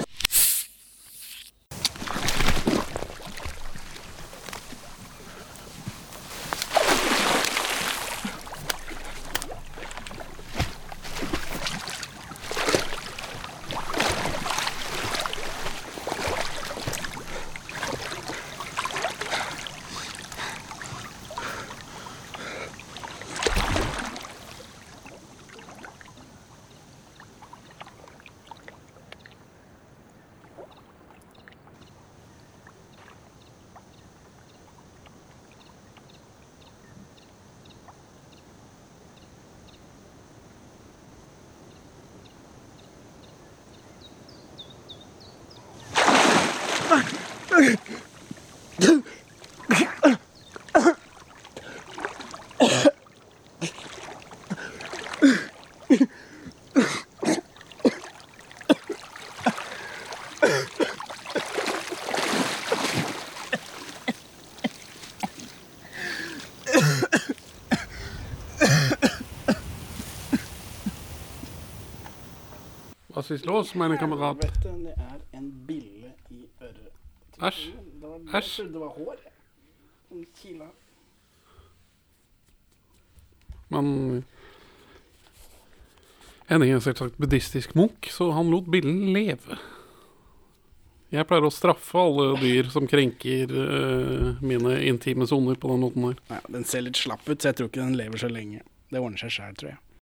Hva syns du også, mener kamerat?
det er en bille i øret.
Æsj. Æsj.
Det var hår. Kila.
Men Henning er selvsagt buddhistisk munk, så han lot billen leve. Jeg pleier å straffe alle dyr som krenker eh, mine intime soner på den måten her.
Ja, den ser litt slapp ut, så jeg tror ikke den lever så lenge. Det ordner seg sjæl, tror jeg.